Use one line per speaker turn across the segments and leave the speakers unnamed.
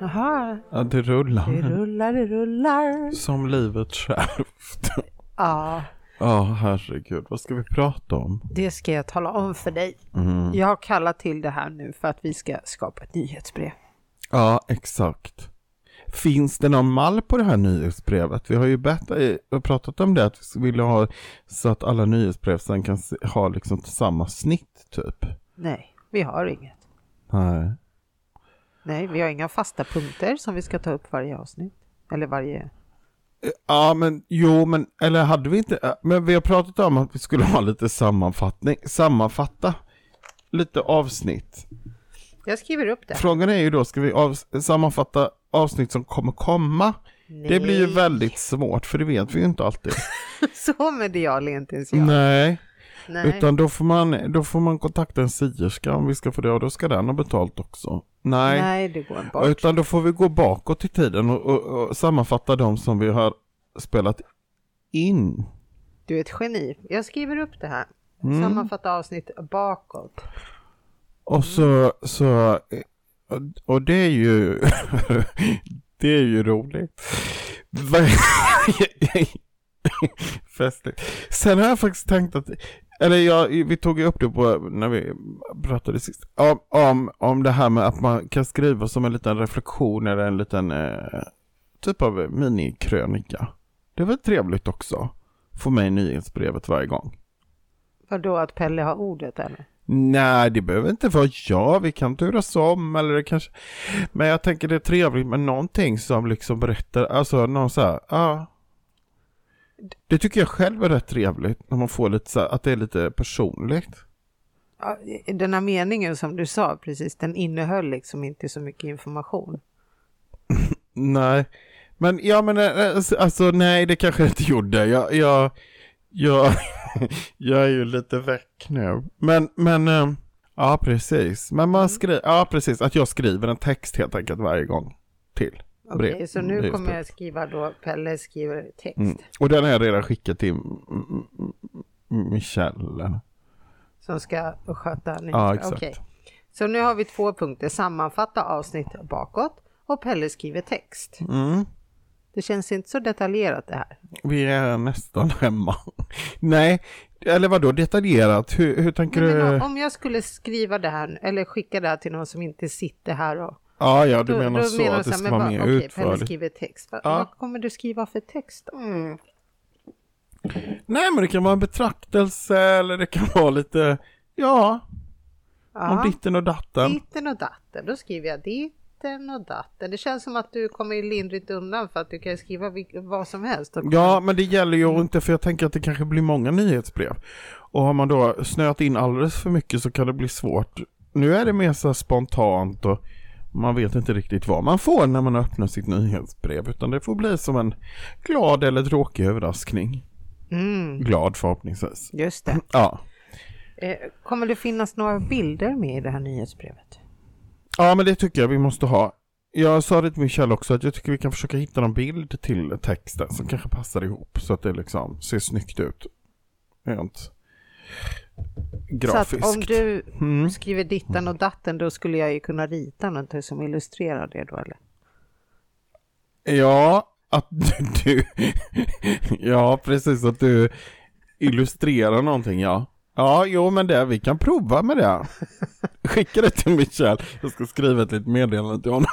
Jaha,
Ja, det rullar.
det rullar, det rullar.
Som livet självt.
Ja,
Ja, herregud. Vad ska vi prata om?
det ska jag tala om för dig.
Mhm.
Jag har kallat till det här nu för att vi ska skapa ett nyhetsbrev.
Ja, exakt. Finns det någon mall på det här nyhetsbrevet? Vi har ju bett, eh, pratat om det, att vi ville ha så att alla nyhetsbrev sen kan se- ha liksom samma snitt, typ.
Nej, vi har inget.
Nej.
Nej, vi har inga fasta punkter som vi ska ta upp varje avsnitt. Eller varje...
Ja, men jo, men eller hade vi inte, eh, men vi har pratat om att vi skulle ha lite sammanfattning, sammanfatta lite avsnitt.
Jag skriver upp det.
Eh, Frågan är ju då, ska vi av, sammanfatta avsnitt som kommer komma? Det blir ju
Nej.
väldigt svårt, för det vet vi ju inte alltid.
Så medial är inte ens jag.
Nej,
Nej.
utan då får, man, då får man kontakta en sierska om vi ska få det, och då ska den ha betalt också. Nej,
Nej, det går bort.
utan då får vi gå bakåt i tiden och, och, och sammanfatta de som vi har spelat in.
Du är ett geni. Jag skriver upp det här.
Mm.
Sammanfatta avsnitt bakåt.
Och så, så och det är ju, det är ju roligt. Festligt. Sen har jag faktiskt tänkt att, eller jag, vi tog ju upp det på, när vi pratade sist, om, om, om det här med att man kan skriva som en liten reflektion eller en liten eh, typ av minikrönika. Det var trevligt också. Få med i nyhetsbrevet varje gång.
Vadå att Pelle har ordet eller?
Nej, det behöver inte vara jag. Vi kan turas om eller det kanske... Men jag tänker det är trevligt med någonting som liksom berättar, alltså någon så här, ja. Det tycker jag själv är rätt trevligt när man får lite så här, att det är lite personligt.
Ja, Den här meningen som du sa precis, den innehöll liksom inte så mycket information.
Nej, men ja men eh, alltså- alltså nej det kanske jag inte gjorde. Jag, jag, jag, jag är ju lite väck nu. Men, men, eh, ja precis. Men
Mm.
man skriver, ja precis, att jag skriver en text helt enkelt varje gång till.
Okej,
brev-
så nu
brevsbrev.
kommer jag skriva då, Pelle skriver text.
Mm. Och den har jag redan skickat till mm, mm, mm, Michelle.
Som ska sköta nyhetsbrev.
Ja, exakt.
Okej. Så nu har vi två punkter, sammanfatta avsnitt bakåt och Pelle skriver text.
Mm.
Det känns inte så detaljerat det här.
Vi är nästan hemma. Nej, eller vadå detaljerat? Hur, hur tänker
Nej,
du?
men om jag skulle skriva det här eller skicka det här till någon som inte sitter här och
Ja, ja, du
Då-
menar
då
så
menar
att
du
det
så här,
ska
men
vara
bara,
mer
okej, Pelle
utförligt.
skriver text. Va,
Ja.
Vad kommer du skriva för text då?
Nej, men det kan vara en betraktelse eller det kan vara lite, ja,
Ja.
om ditten och datten.
Ditten och datten, då skriver jag ditten och datten. Det känns som att du kommer lindrigt undan för att du kan skriva vil- vad som helst. Och-
Ja, men det gäller ju att inte, för jag tänker att det kanske blir många nyhetsbrev. Och har man då snöat in alldeles för mycket så kan det bli svårt. Nu är det mer så här spontant och man vet inte riktigt vad man får när man öppnar sitt nyhetsbrev, utan det får bli som en glad eller tråkig överraskning.
Mm,
Glad förhoppningsvis.
just det.
Ja.
Eh, kommer det finnas några bilder med i det här nyhetsbrevet?
Ja, men det tycker jag vi måste ha. Jag sa det till Michelle också att jag tycker vi kan försöka hitta någon bild till texten som kanske passar ihop så att det liksom ser snyggt ut. Rent grafiskt.
Så att om du
Mm.
skriver ditten och datten då skulle jag ju kunna rita någonting som illustrerar det då eller?
Ja, att du, du... Ja, precis att du illustrerar någonting, ja. Ja, jo men det, vi kan prova med det. Skicka det till Michelle. Jag ska skriva ett litet meddelande till honom.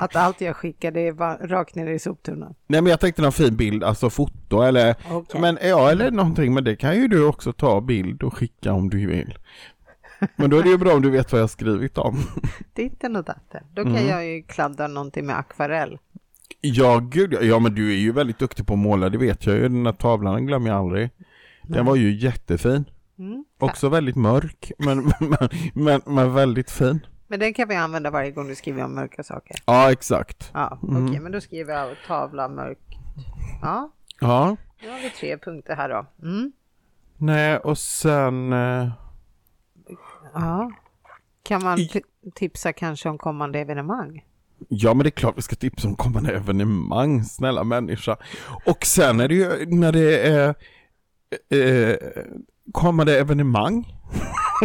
Att allt jag skickar det är bara rakt ner i soptunnan.
Nej men jag tänkte någon fin bild, alltså foto eller
Okej.
Men ja, eller någonting, men det kan ju du också ta bild och skicka om du vill. Men då är det ju bra om du vet vad jag har skrivit om.
Ditten och datten. Då kan jag ju kladda någonting med akvarell.
Ja, gud ja. ja, men du är ju väldigt duktig på att måla, det vet jag ju. Den där tavlan den glömmer jag aldrig. Den var ju jättefin.
Mm.
Också väldigt mörk, men, men, men, men väldigt fin.
Men den kan vi använda varje gång du skriver om mörka saker.
Ja, exakt.
Ja, okej, men då skriver jag tavla mörkt. Ja,
Ja,
nu har vi tre punkter här då. Mm.
nej och sen... eh,
Ja. Kan man
I-
ti- tipsa kanske om kommande evenemang?
Ja men det är klart vi ska tipsa om kommande evenemang, snälla människa. Och sen är det ju när det är eh, kommande evenemang,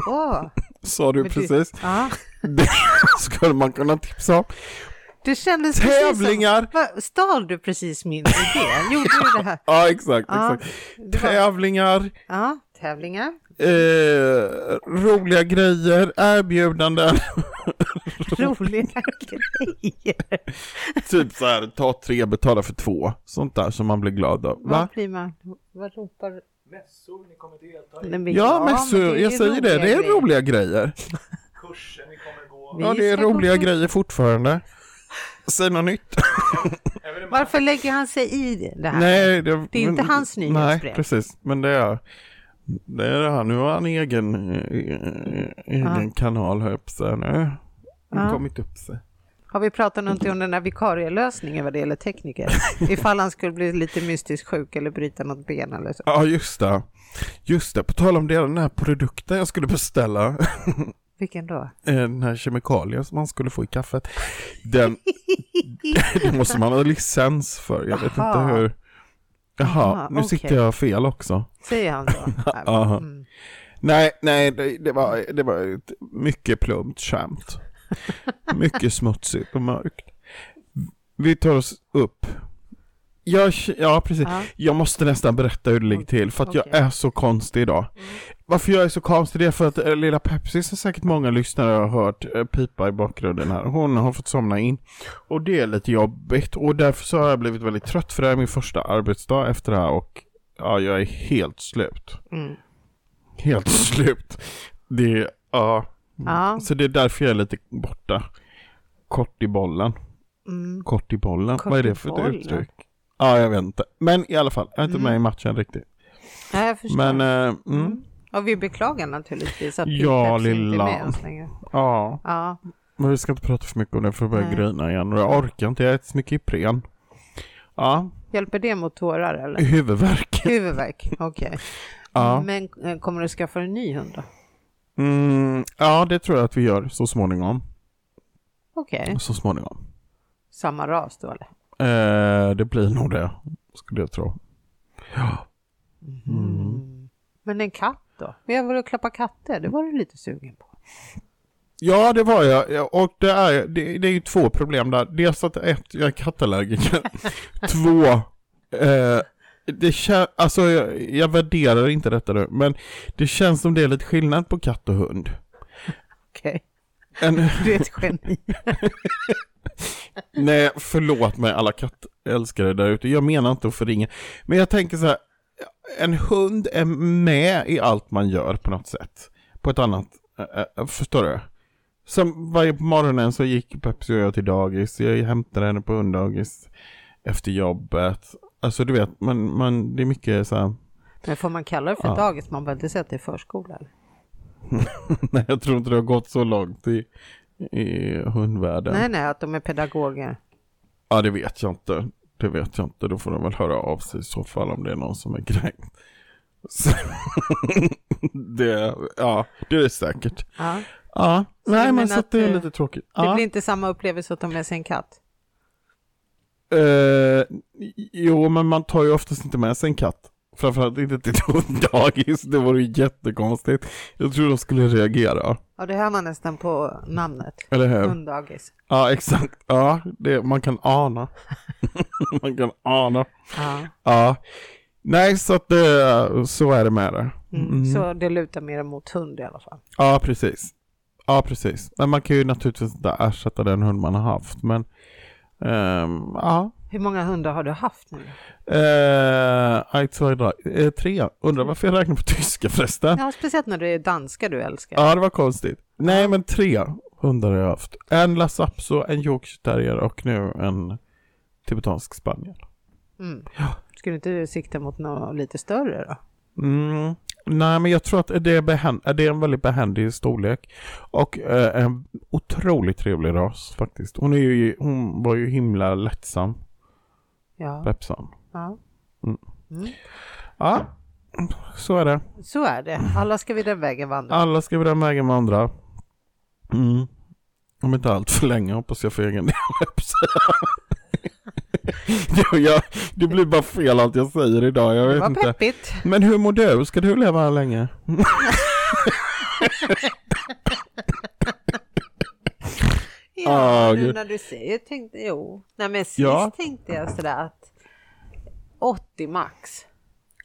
Åh,
sa du
Men det-
precis,
ja.
det skulle man kunna tipsa om.
Det kändes
Tävlingar!
precis som... Va, Stal du precis min idé? Gjorde du det här?
Ja, exakt.
Ja,
exakt.
det var-
Tävlingar,
Ja, tävlingar.
eh, roliga grejer, erbjudanden.
Roliga grejer.
typ så här, ta tre, betala för två. Sånt där som man blir glad av.
Vad
Va?
blir man? Vad ropar...
mässor ni kommer delta i,
Nej, men-
Ja, men så,
det är ju
jag säger det, det är
grejer.
roliga grejer.
kurser ni kommer gå,
Vi
Ja, det är
ska gå
roliga
på-
grejer fortfarande. Säg något nytt.
evenemang,
Varför lägger han sig i det här?
Nej, det,
Det är inte
men-
hans
Nej,
nyhetsbrev.
precis. Men det är det. Är det här. Nu har han egen, eh, eh, egen kanal här upp sig nu. Han
Ja.
kommit upp sig.
Har vi pratat någonting om den här vikarielösningen vad det gäller tekniker? Ifall han skulle bli lite mystiskt sjuk eller bryta något ben eller så.
Ja, just det. Just det, på tal om det, den här produkten jag skulle beställa,
Vilken då?
eh, den här kemikalien som man skulle få i kaffet, den, den måste man ha licens för. Jag vet
Aha.
inte hur. Jaha,
Aha,
nu sitter
okej.
jag fel också.
Säger han så?
Ja.
Mm.
Nej, nej, det, det, var, det var ett mycket plumpt skämt. Mycket smutsigt och mörkt. Vi tar oss upp. Jag, k- ja, precis.
Ja.
Jag måste nästan berätta hur det ligger till, för att jag
Okej. Mm.
är så konstig idag. Varför jag är så konstig, det är för att eh, lilla Pepsi, som säkert många lyssnare har hört eh, pipa i bakgrunden här, hon har fått somna in. Och det är lite jobbigt, och därför så har jag blivit väldigt trött, för det här är min första arbetsdag efter det här, och ja, jag är helt slut
Mm.
helt slut. Det, ja.
Ja.
Så det är därför jag är lite borta. Kort i bollen.
Mm.
Kort i bollen.
Kort
Vad är
i
det för ett
bollen?
uttryck? Ja, jag vet inte. Men i alla fall, jag är inte
Mm.
med i matchen riktigt.
ja, jag förstår.
Men, eh, mm,
Mm. Och vi beklagar naturligtvis att
Ja,
Pip Pepsi inte är
lilla.
med oss längre.
ja.
Ja,
Men vi ska inte prata för mycket om det för jag börjar
Nej.
grina igen. Och jag orkar inte, jag äter så mycket Ipren. Ja,
hjälper det mot tårar eller?
huvudvärk.
Huvudvärk, okej.
Ja.
Men eh, kommer du skaffa en ny hund då?
Mm, ja, det tror jag att vi gör så småningom.
Okej,
Så småningom.
samma ras då eller?
Eh, det blir nog det, skulle jag tro.
Mm. Men en katt då? Vi har varit och klappat katter, det var du lite sugen på.
Ja, det var jag. Ja, Och det är, det, det är ju två problem där. Dels att ett, jag är kattallergiker. två, eh, det kän, alltså jag, jag värderar inte detta nu, men det känns som det är lite skillnad på katt och hund.
Okej,
En,
du är ett geni.
nej, förlåt mig alla kattälskare där ute. Jag menar inte att förringa. Men jag tänker så här, en hund är med i allt man gör på något sätt. På ett annat, eh, eh, förstår du? Som varje på morgonen så gick Pepsi och jag till dagis, jag hämtade henne på hunddagis efter jobbet. Alltså du vet, man, man, det är mycket så här,
Men får man kalla det för
Ja.
dagis? Man behöver inte säga att det är förskola. Eller?
nej jag tror inte det har gått så långt i, i hundvärlden.
Nej, nej, att de är pedagoger.
Ja, det vet jag inte. Det vet jag inte. Då får de väl höra av sig i så fall om det är någon som är kränkt. Så, det, ja, det är säkert.
Ja.
Ja,
du
nej men
menar
så att det är
att, eh,
lite tråkigt.
Det
Ja.
blir inte samma upplevelse att ta med sig en katt.
Eh, jo, men man tar ju oftast inte med sig en katt. Framförallt inte till ett hunddagis. Det vore ju jättekonstigt. Jag tror de skulle reagera.
Ja, det hör man nästan på namnet.
Eller
Mm.
hur?
Hunddagis.
Ja, exakt. Ja, det, man kan ana. man kan ana.
Ja.
Ja. Nej, så att det, så är det med det.
Mm.
Mm.
Så det lutar mer mot hund i alla fall.
Ja, precis. Ja, precis. Men man kan ju naturligtvis inte ersätta den hund man har haft, men ehm, ja.
Hur många hundar har du haft nu?
Uh, I uh, tre. Undrar varför jag räknar på tyska förresten.
Ja, speciellt när det är danska du älskar.
Ja, det var konstigt. Nej, men tre hundar har jag haft. En Lhasa Apso, en Yorkshire Terrier och nu en tibetansk spaniel.
Mm. Skulle inte du sikta mot något lite större då?
Mm. Nej, men jag tror att det är, behän- det är en väldigt behändig storlek. Och eh, en otroligt trevlig ras faktiskt. Hon, är ju, hon var ju himla lättsam,
Ja.
läppsam.
ja.
Mm.
Mm.
Ja, så är det.
Så är det. Alla ska vi den vägen vandra.
Alla ska vara vägen med andra. Mm. Om inte allt för länge hoppas jag för egen del. höll jag på att säga. jag, jag, det blir bara fel allt jag säger idag, jag
det
vet
var
inte.
peppigt.
Men hur mår du? Ska du leva länge?
Ja,
Ah,
nu
gud.
när du säger tänkte jo. Nej men sist
Ja.
tänkte jag sådär att 80 max. Det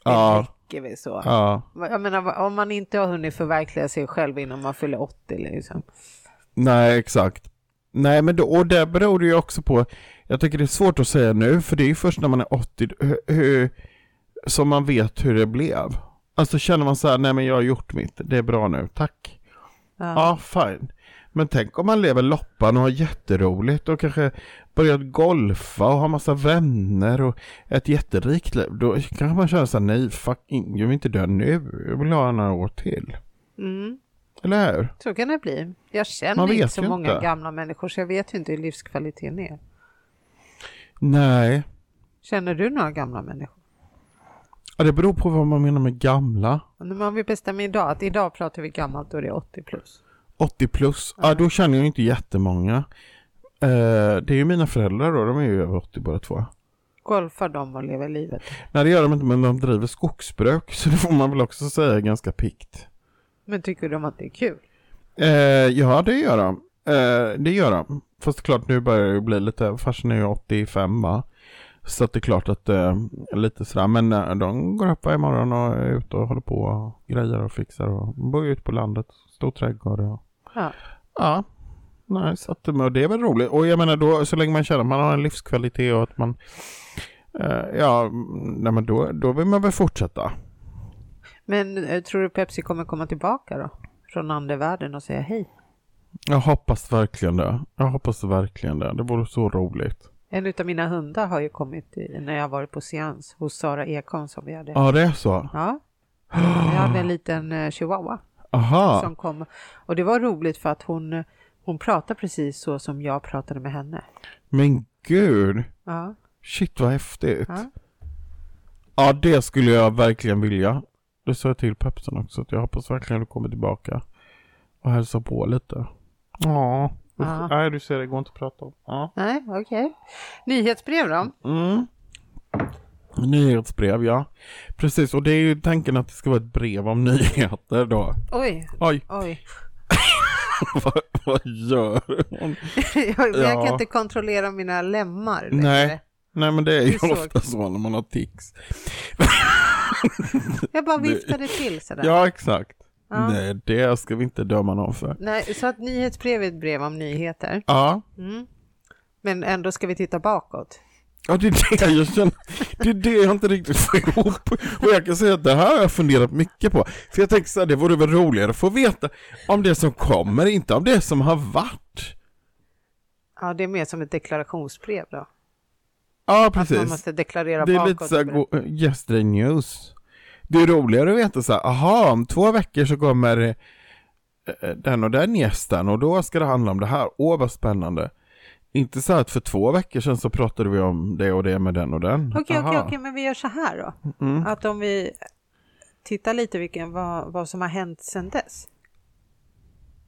Ja.
räcker väl så.
Ja.
Jag menar om man inte har hunnit förverkliga sig själv innan man fyller 80 liksom.
Nej, exakt. Nej, men då, och det beror det ju också på, jag tycker det är svårt att säga nu, för det är ju först när man är 80 hur, hur, som man vet hur det blev. Alltså känner man så här, nej men jag har gjort mitt, det är bra nu, tack. Ja, fine. Men tänk om man lever loppan och har jätteroligt och kanske börjat golfa och har massa vänner och ett jätterikt liv. Då kanske man känner så här, nej, fuck, jag vill inte dö nu, jag vill ha några år till.
Mm,
Eller hur?
så kan det bli. Jag känner
Man
inte
vet
så
ju
många
inte.
gamla människor så jag vet ju inte hur livskvaliteten är.
Nej.
Känner du några gamla människor?
Ja, det beror på vad man menar med gamla.
Men Om vi bestämmer idag att idag pratar vi gammalt och det är 80 plus.
80 plus, ja då känner jag inte jättemånga. Eh, det är ju mina föräldrar då, de är ju över 80 båda två.
Golfar de och lever livet.
Nej det gör de inte men de driver skogsbruk så det får man väl också säga är ganska pikt.
Men tycker de att det är kul?
Eh, ja det gör de. Eh, det gör de. Fast klart nu börjar det ju bli lite, farsan är ju 85 va. Så att det är klart att eh, lite sådär men eh, de går upp varje morgon och är ute och håller på och grejer och fixar och bor ju ute på landet, stor trädgård och
Ja.
Ja. Nej, så att, men det är väl roligt. Och jag menar då, så länge man känner att man har en livskvalitet och att man... Eh, ja, nej men då, då vill man väl fortsätta.
Men eh, tror du Pepsi kommer komma tillbaka då? Från andevärlden och säga hej?
Jag hoppas verkligen det. Jag hoppas verkligen det. Det vore så roligt.
En utav mina hundar har ju kommit i, när jag varit på seans hos Sara Ekholm som vi hade.
Ja, det är så.
Ja. Vi hade en liten eh, chihuahua
Aha.
som kom. Och det var roligt för att hon, eh, hon pratade precis så som jag pratade med henne.
Men gud.
Ja.
Shit vad häftigt.
Ja.
Ja, det skulle jag verkligen vilja. Det sa jag till Pepsen också, att jag hoppas verkligen att du kommer tillbaka och hälsar på lite. Ja.
Ja.
Nej, du ser, det går inte att prata om. Ja.
Nej, okej. Nyhetsbrev då?
Mm. Nyhetsbrev, ja. Precis, och det är ju tanken att det ska vara ett brev om nyheter då.
Oj,
Oj,
oj.
vad, vad gör hon?
jag, jag kan
Ja.
inte kontrollera mina lemmar längre.
Nej. Nej men det är ju
Du såg.
ofta så när man har tics.
Jag bara viftade till sådär.
Ja, exakt.
Ja.
Nej, det ska vi inte döma någon för.
Nej, så att nyhetsbrev är ett brev om nyheter.
Ja.
Mm. Men ändå ska vi titta bakåt.
Ja, det är det jag känner. Det är det jag inte riktigt får ihop. Och jag kan säga att det här har jag funderat mycket på. För jag tänkte så här, det vore väl roligare att få veta om det som kommer, inte om det som har varit.
Ja, det är mer som ett deklarationsbrev då.
Ja,
Att
precis.
man måste deklarera
Det är
bakåt.
lite såhär go- yesterday news. Det är roligare att veta såhär, aha, om två veckor så kommer eh, den och den gästen och då ska det handla om det här. Åh, vad spännande. Inte så här att för två veckor sedan så pratade vi om det och det med den och den.
Okej, okej,
Aha. Mm.
okej, men vi gör så här då. Att om vi tittar lite vilken, vad, vad som har hänt sedan dess.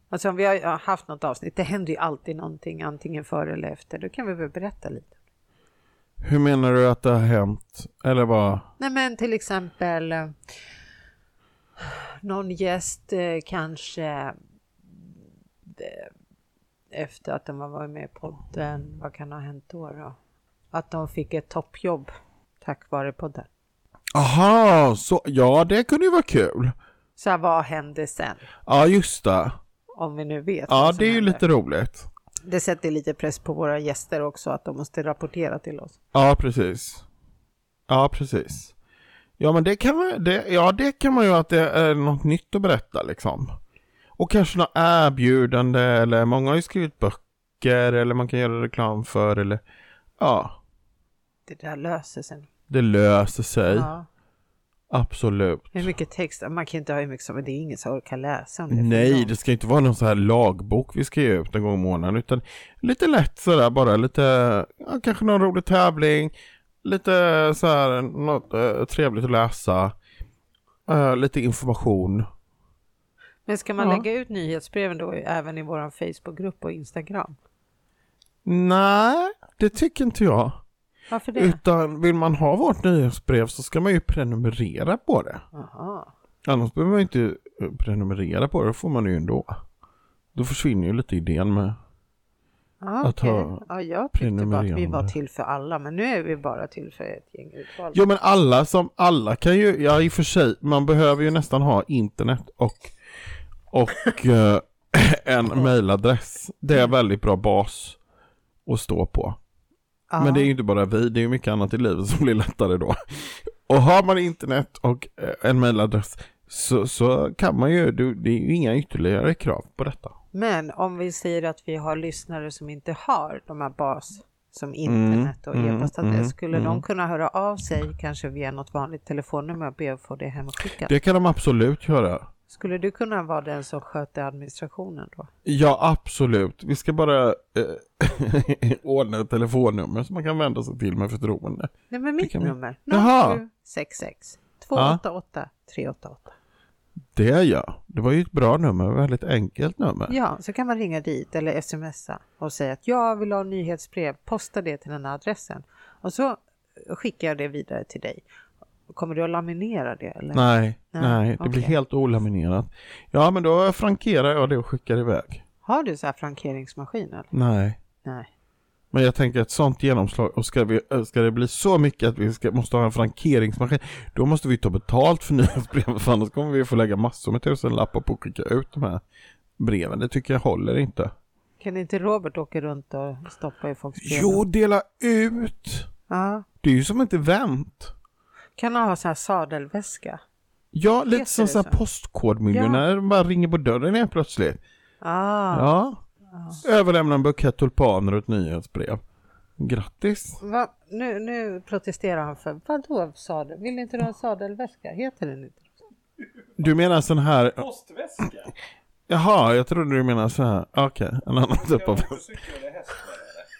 Alltså om vi har ja, haft något avsnitt, det händer ju alltid någonting, antingen före eller efter. Då kan vi väl berätta lite.
Hur menar du att det har hänt? Eller vad?
Nej men till exempel eh, någon gäst eh, kanske eh, efter att de har varit med i podden, vad kan ha hänt då då? Att de fick ett toppjobb tack vare podden.
Aha, så, ja det kunde ju vara kul.
Så här, vad hände sen?
Ja, just det.
Om vi nu vet.
Ja,
vad som
det är ju
händer.
lite roligt.
Det sätter lite press på våra gäster också att de måste rapportera till oss.
Ja, precis. Ja, precis. Ja, men det kan man, det, ja, det kan man ju att det är något nytt att berätta liksom. Och kanske något erbjudande eller många har ju skrivit böcker eller man kan göra reklam för eller ja,
Det där löser sig.
det löser sig.
Ja.
Absolut.
Hur mycket text? Man kan inte ha hur mycket som det är ingen som orkar läsa om det.
Nej, det ska inte vara någon så här lagbok vi ska ge ut en gång i månaden, utan lite lätt sådär bara, lite, ja, kanske någon rolig tävling, lite så här, något eh, trevligt att läsa, eh, lite information.
Men ska man
Ja.
lägga ut nyhetsbreven då även i vår Facebookgrupp och Instagram?
Nej, det tycker inte jag.
Varför det?
Utan vill man ha vårt nyhetsbrev så ska man ju prenumerera på det.
Jaha.
Annars behöver man ju inte eh, prenumerera på det, då får man det ju ändå. Då försvinner ju lite idén med
Ja,
Att
Ah, okej.
ha
ja, jag tyckte bara att vi var
prenumererande.
till för alla, men nu är vi bara till för ett gäng utvalda.
Jo men alla som, alla kan ju, ja i och för sig, man behöver ju nästan ha internet och, och eh, en mailadress. Det är en väldigt bra bas att stå på.
Ja.
Men det är ju inte bara vi, det är ju mycket annat i livet som blir lättare då. Och har man internet och eh, en mailadress så, så kan man ju, det, det är ju inga ytterligare krav på detta.
Men om vi säger att vi har lyssnare som inte har de här bas som internet och
mm,
e-postadress,
mm,
skulle de kunna höra av sig kanske via något vanligt telefonnummer och be att få det hemskickat?
Det kan de absolut göra.
Skulle du kunna vara den som sköter administrationen då?
Ja, absolut. Vi ska bara eh, ordna ett telefonnummer som man kan vända sig till med förtroende.
Nej, men mitt
kan vi.
nummer.
Jaha.
0766 288 388.
Det är jag. Det var ju ett bra nummer, ett väldigt enkelt nummer.
Ja, så kan man ringa dit eller smsa och säga att jag vill ha nyhetsbrev, posta det till den här adressen. Och så skickar jag det vidare till dig. Kommer du att laminera det? Eller?
Nej,
Nej,
nej, det
okej.
blir helt olaminerat. Ja, men då frankerar jag det och skickar iväg.
Har du så här frankeringsmaskin? Eller?
Nej.
Nej.
Men jag tänker ett sånt genomslag, och ska, vi, eh, ska det bli så mycket att vi ska, måste ha en frankeringsmaskin, då måste vi ta betalt för nyhetsbreven, för annars kommer vi få lägga massor med tusenlappar på att skicka ut de här breven. Det tycker jag håller inte.
Kan inte Robert åka runt och stoppa i folks brev?
Jo, dela ut!
Ja.
Det är ju som ett event.
Kan han ha så här sadelväska?
Ja, lite
Heter
som
det
så här
så?
postkodmiljonärer, de bara ringer på dörren helt plötsligt.
Ah.
Ja. Överlämna en bukett tulpaner och ett nyhetsbrev. Grattis!
Va? Nu, nu protesterar han för vadå sadel? Vill inte du ha sadelväska? Heter den inte?
Du menar sån här,
Postväska?
jaha, jag trodde du menar så här, okej, en annan typ
Jag
av
var på cykel eller häst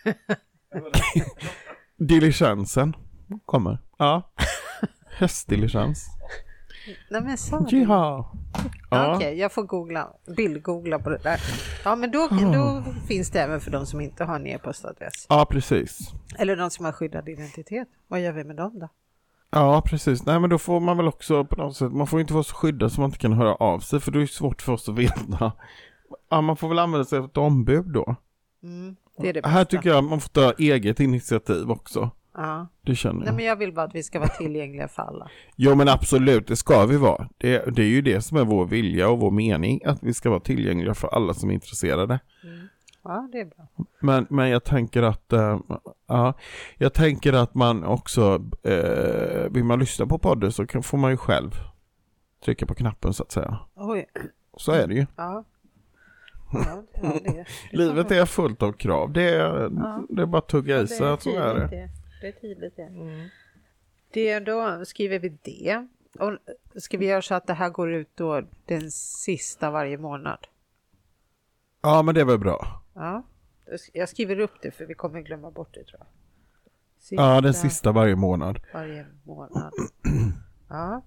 eller? Jag var där.
Diligensen kommer. Ja. Hästdiligens.
Nej men sadel.
Jiha.
Ja.
Ja.
Okej, jag får googla, bildgoogla på det där. Ja, men då,
Ah.
då finns det även för de som inte har en e-postadress.
ja, precis.
Eller de som har skyddad identitet. Vad gör vi med dem då?
Ja, precis. Nej, men då får man väl också på något sätt, man får inte vara så skyddad så man inte kan höra av sig, för då är det svårt för oss att veta. Ja, man får väl använda sig av ett ombud då.
Mm, det är det
Här
bästa.
tycker jag man får ta eget initiativ också.
Ja.
Det känner
Nej,
jag.
men jag vill bara att vi ska vara tillgängliga för alla.
Jo, men absolut, det ska vi vara. Det, det är ju det som är vår vilja och vår mening, att vi ska vara tillgängliga för alla som är intresserade.
Ja, det är bra.
Men, men jag tänker att, eh, ja, jag tänker att man också, eh, vill man lyssna på podden så kan, får man ju själv trycka på knappen så att säga.
Oj,
Så är det ju.
ja. Ja, ja, det,
Livet är fullt av krav. Det är, det är bara att tugga i sig. att Så är det.
det. Det är tydligt det. det. Då skriver vi det. Och ska vi göra så att det här går ut då den sista varje månad?
Ja, men det är väl bra.
Ja, jag skriver upp det för vi kommer glömma bort det tror jag. Sista
Ja, den sista varje månad.
varje månad. Ja,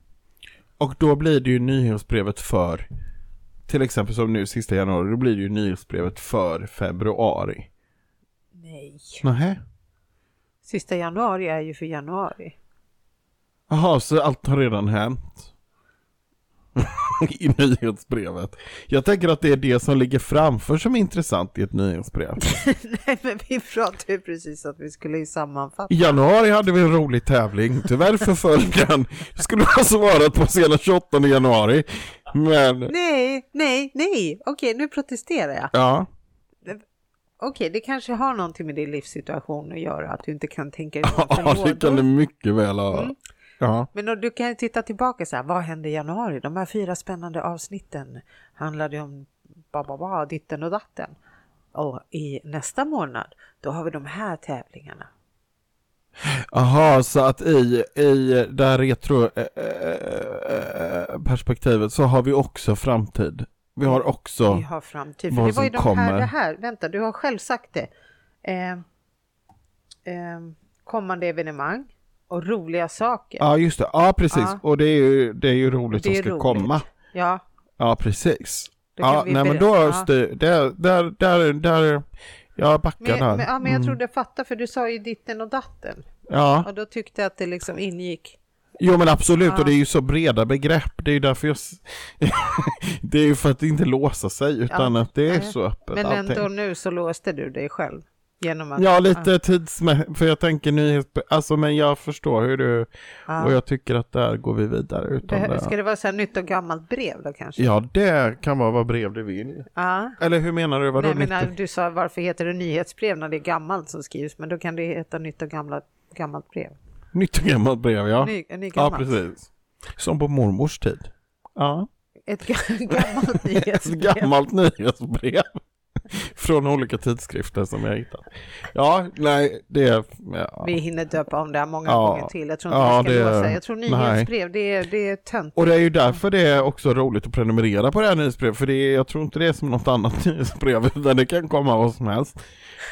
Och då blir det ju nyhetsbrevet för, till exempel som nu sista januari, då blir det ju nyhetsbrevet för februari.
nej.
Nähä?
Sista januari är ju för januari.
Jaha, så allt har redan hänt? I nyhetsbrevet. Jag tänker att det är det som ligger framför som är intressant i ett nyhetsbrev.
nej, men vi pratade ju precis att vi skulle ju sammanfatta.
I januari hade vi en rolig tävling. Tyvärr förföll den. Det skulle ha svarat på senast 28 januari. Men,
Nej, nej, nej. Okej, nu protesterar jag.
ja.
Okej, det kanske har någonting med din livssituation att göra, att du inte kan tänka dig
Ja,
utanför
det kan det
lådor.
mycket väl ha.
Mm.
Ja.
Men då, du kan ju titta tillbaka så här, vad hände i januari? De här fyra spännande avsnitten handlade om ba, ba, ba, ditten och datten. Och i nästa månad, då har vi de här tävlingarna.
Aha, så att i, i det här retro eh, eh, perspektivet så har vi också framtid. Vi har också,
Vi har framtid. För
Vad
det var ju
som
de här,
kommer.
det här, vänta, du har själv sagt det. Eh, eh, kommande evenemang och roliga saker.
ja just det, ja precis.
Ja.
Och det är ju, det är ju roligt
Det
som
är
ska
roligt.
komma.
Ja,
Ja, precis.
Då kan
Ja,
vi
nej men då,
berätta. Ja.
styr, där, där, där, där, jag backar
men,
där.
men, ja, men
Mm.
jag trodde jag fattade, för du sa ju ditten och datten.
Ja,
Och då tyckte jag att det liksom ingick.
Jo men absolut,
Ja.
och det är ju så breda begrepp. Det är ju därför jag... s- det är ju för att inte låsa sig, utan att det är
Nej.
så öppet
Men
allting.
ändå nu så låste du dig själv genom att...
Ja, lite tidsmässigt, för jag tänker nyhets... Alltså men jag förstår hur du...
Ja.
Och jag tycker att där går vi vidare utan
Behö-
det.
Ska det vara så här nytt och gammalt brev då kanske?
Ja, det kan vara vad brev du vill.
Ja.
Eller hur menar du? Vadå
Nej, men
nytt?
när du sa varför heter det nyhetsbrev när det är gammalt som skrivs, men då kan det heta nytt och gamla, gammalt brev.
Nytt och gammalt brev, ja.
Ny, ny
ja,
gammalt.
precis. Som på mormors tid. Ja.
Ett ga- gammalt
Ett
nyhetsbrev.
gammalt nyhetsbrev. Från olika tidskrifter som jag hittat. Ja, nej, det... är- Ja.
Vi hinner döpa om det här många
Ja.
gånger till. Jag tror inte
Ja,
vi ska
det-
låsa. Jag tror
nej.
nyhetsbrev, det är, det är tönt.
Och det är ju därför det är också roligt att prenumerera på det här nyhetsbrevet, för det är, jag tror inte det är som något annat nyhetsbrev, utan det kan komma vad som helst.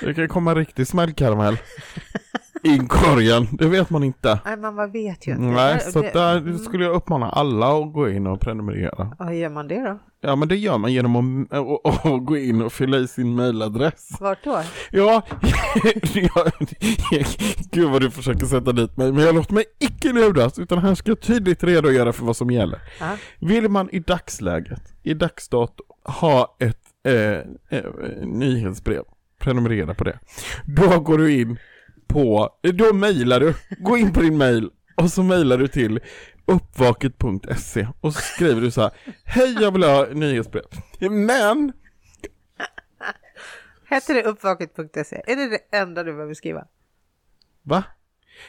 Det kan komma riktig smällkaramell i korgen, det vet man inte.
Nej, men vad vet ju inte.
Nej,
Det-
så
det- mm.
att där skulle jag uppmana alla att gå in och prenumerera.
Ja, Hur gör man det då?
Ja, men det gör man genom att, att, att gå in och fylla i sin mailadress.
Vart då?
Ja, jag, gud vad du försöker sätta dit mig, men jag låter mig icke luras, utan här ska jag tydligt redogöra för vad som gäller.
Ja.
Vill man i dagsläget, i dagsdato, ha ett eh, eh, nyhetsbrev, prenumerera på det. Då går du in på, då mejlar du, gå in på din mejl och så mejlar du till uppvaket.se och så skriver du så här, hej jag vill ha nyhetsbrev, men
Hette det uppvaket.se? E? Är det det enda du behöver skriva?
Va?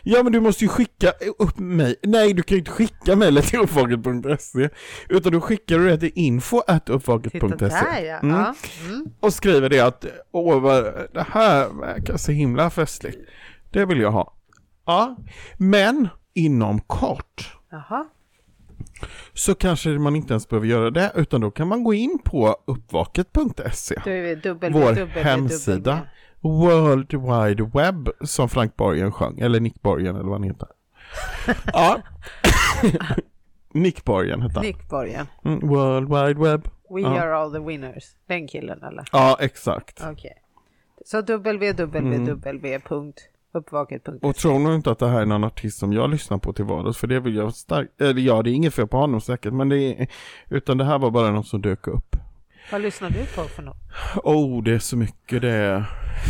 Ja men du måste ju skicka upp mig. Nej du kan ju inte skicka mejlet till uppvaket.se E. utan då skickar du det till info at
Titta där
uppvaket.se
ja.
Mm.
ja. Mm.
och skriver det att åh vad, det här verkar så himla festligt. Det vill jag ha. Ja, men inom kort
Jaha.
så kanske man inte ens behöver göra det utan då kan man gå in på uppvaket.se
Då är vi dubbel
vår
dubbel-
hemsida
dubbel-
World Wide Web som Frank Borgen sjöng, eller Nick Borgen eller vad han heter. ja. Nick Borgen hette han.
E. Nick Borgen.
Mm, World Wide Web.
We
Ja.
are all the winners. Den killen eller?
Ja, exakt.
Okej. Så www.uppvaket.se.
Mm. Och tror nog inte att det här är någon artist som jag lyssnar på till vardags, för det vill jag starkt, eller ja, det är inget fel på honom säkert, men det är, utan det här var bara något som dök upp.
Vad lyssnar du på för något?
Oh, det är så mycket det är.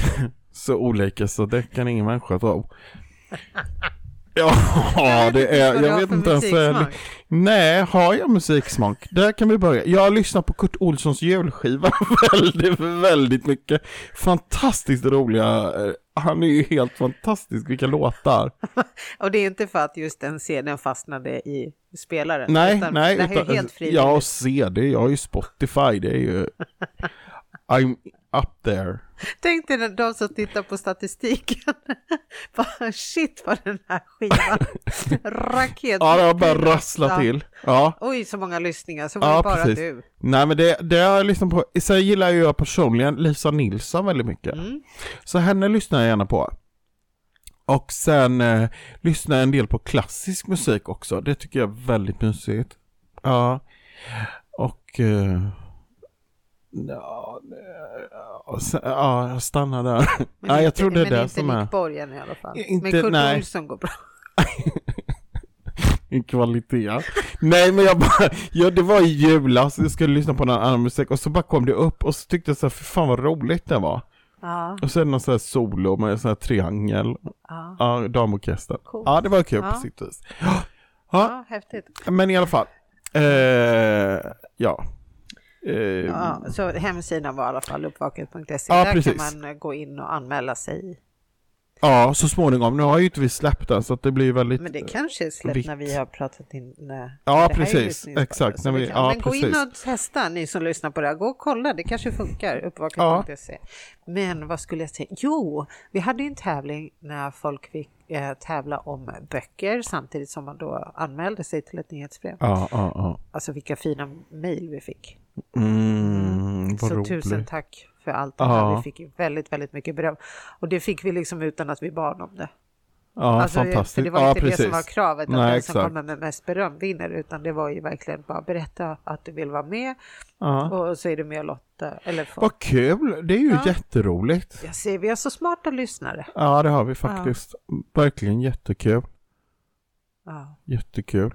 så olika så det kan ingen människa tro. Ja, det är,
vad du
jag
har
vet
för
inte ens vad jag
musiksmak.
Nej, har jag musiksmak? Där kan vi börja. Jag har lyssnat på Kurt Olssons julskiva väldigt, väldigt mycket. Fantastiskt roliga, eh, han är ju helt fantastisk, vilka låtar.
Och det är inte för att just den cdn fastnade i spelaren?
Nej,
utan
nej.
Det här är helt frivilligt.
jag har CD, jag har ju Spotify, det är ju... I'm up there.
Tänk dig när de som tittar på statistiken. Bara, Shit vad den här skivan. Raket.
Ja, det har bara rasslat till. Ja.
Oj, så många lyssningar. Så var det bara du.
Nej men det, det har jag lyssnat på, sen gillar ju jag personligen Lisa Nilsson väldigt mycket.
Mm.
Så henne lyssnar jag gärna på. Och sen eh, lyssnar jag en del på klassisk musik också, det tycker jag är väldigt mysigt. Ja. Och... Eh, ja, eh, och sen, ja, jag stannar där.
Men
ja, jag
inte-
tror det är
men
det
inte
som
Nick
är
Borgen i alla fall.
Inte-
men Kurt
nej.
Olsson går bra.
i kvalitet. Nej men jag bara, ja, det var i julas, jag skulle lyssna på någon annan musik och så bara kom det upp och så tyckte jag så här, för fan vad roligt det var.
Ja,
Och sen någon sån här solo med sån här triangel,
ja.
ja, damorkester.
Coolt.
Ja, det var kul
Ja.
på sitt vis.
ja häftigt.
Men i alla fall, eh, ja. Eh,
Ja, så hemsidan var i alla fall uppvaket.se.
Ja,
Där
precis.
kan man eh, gå in och anmäla sig.
ja, så småningom. Nu har ju inte vi släppt den så att det blir väldigt...
Men det kanske är släppt
vitt.
när vi har pratat in. Nej,
Ja,
det här är
precis.
lyssningsbart,
Exakt,
så
när
vi
vi-
kan-
ja,
Alltså, Men gå in
precis.
och testa ni som lyssnar på det här. Gå och kolla, det kanske funkar. Uppvaket.se. Men vad skulle jag säga? Jo, vi hade ju en tävling när folk fick eh, tävla om böcker samtidigt som man då anmälde sig till ett nyhetsbrev.
Ja, ja, ja.
Alltså vilka fina mejl vi fick.
Mm, vad
Så
roligt.
tusen tack för allt det här.
Ja.
Vi fick ju väldigt, väldigt mycket beröm. Och det fick vi liksom utan att vi bad om det.
Ja,
alltså,
fantastiskt.
För det var
ja,
inte det
precis.
som var kravet, att
Nej,
den som
exakt.
kommer med mest beröm vinner. Utan det var ju verkligen bara berätta att du vill vara med
Ja.
och så är du med och Lotta. Eller folk.
Vad kul, det är ju jätteroligt.
Jag ser, vi har så smarta lyssnare.
Ja, det har vi faktiskt. Verkligen jättekul.
Ja.
Jättekul.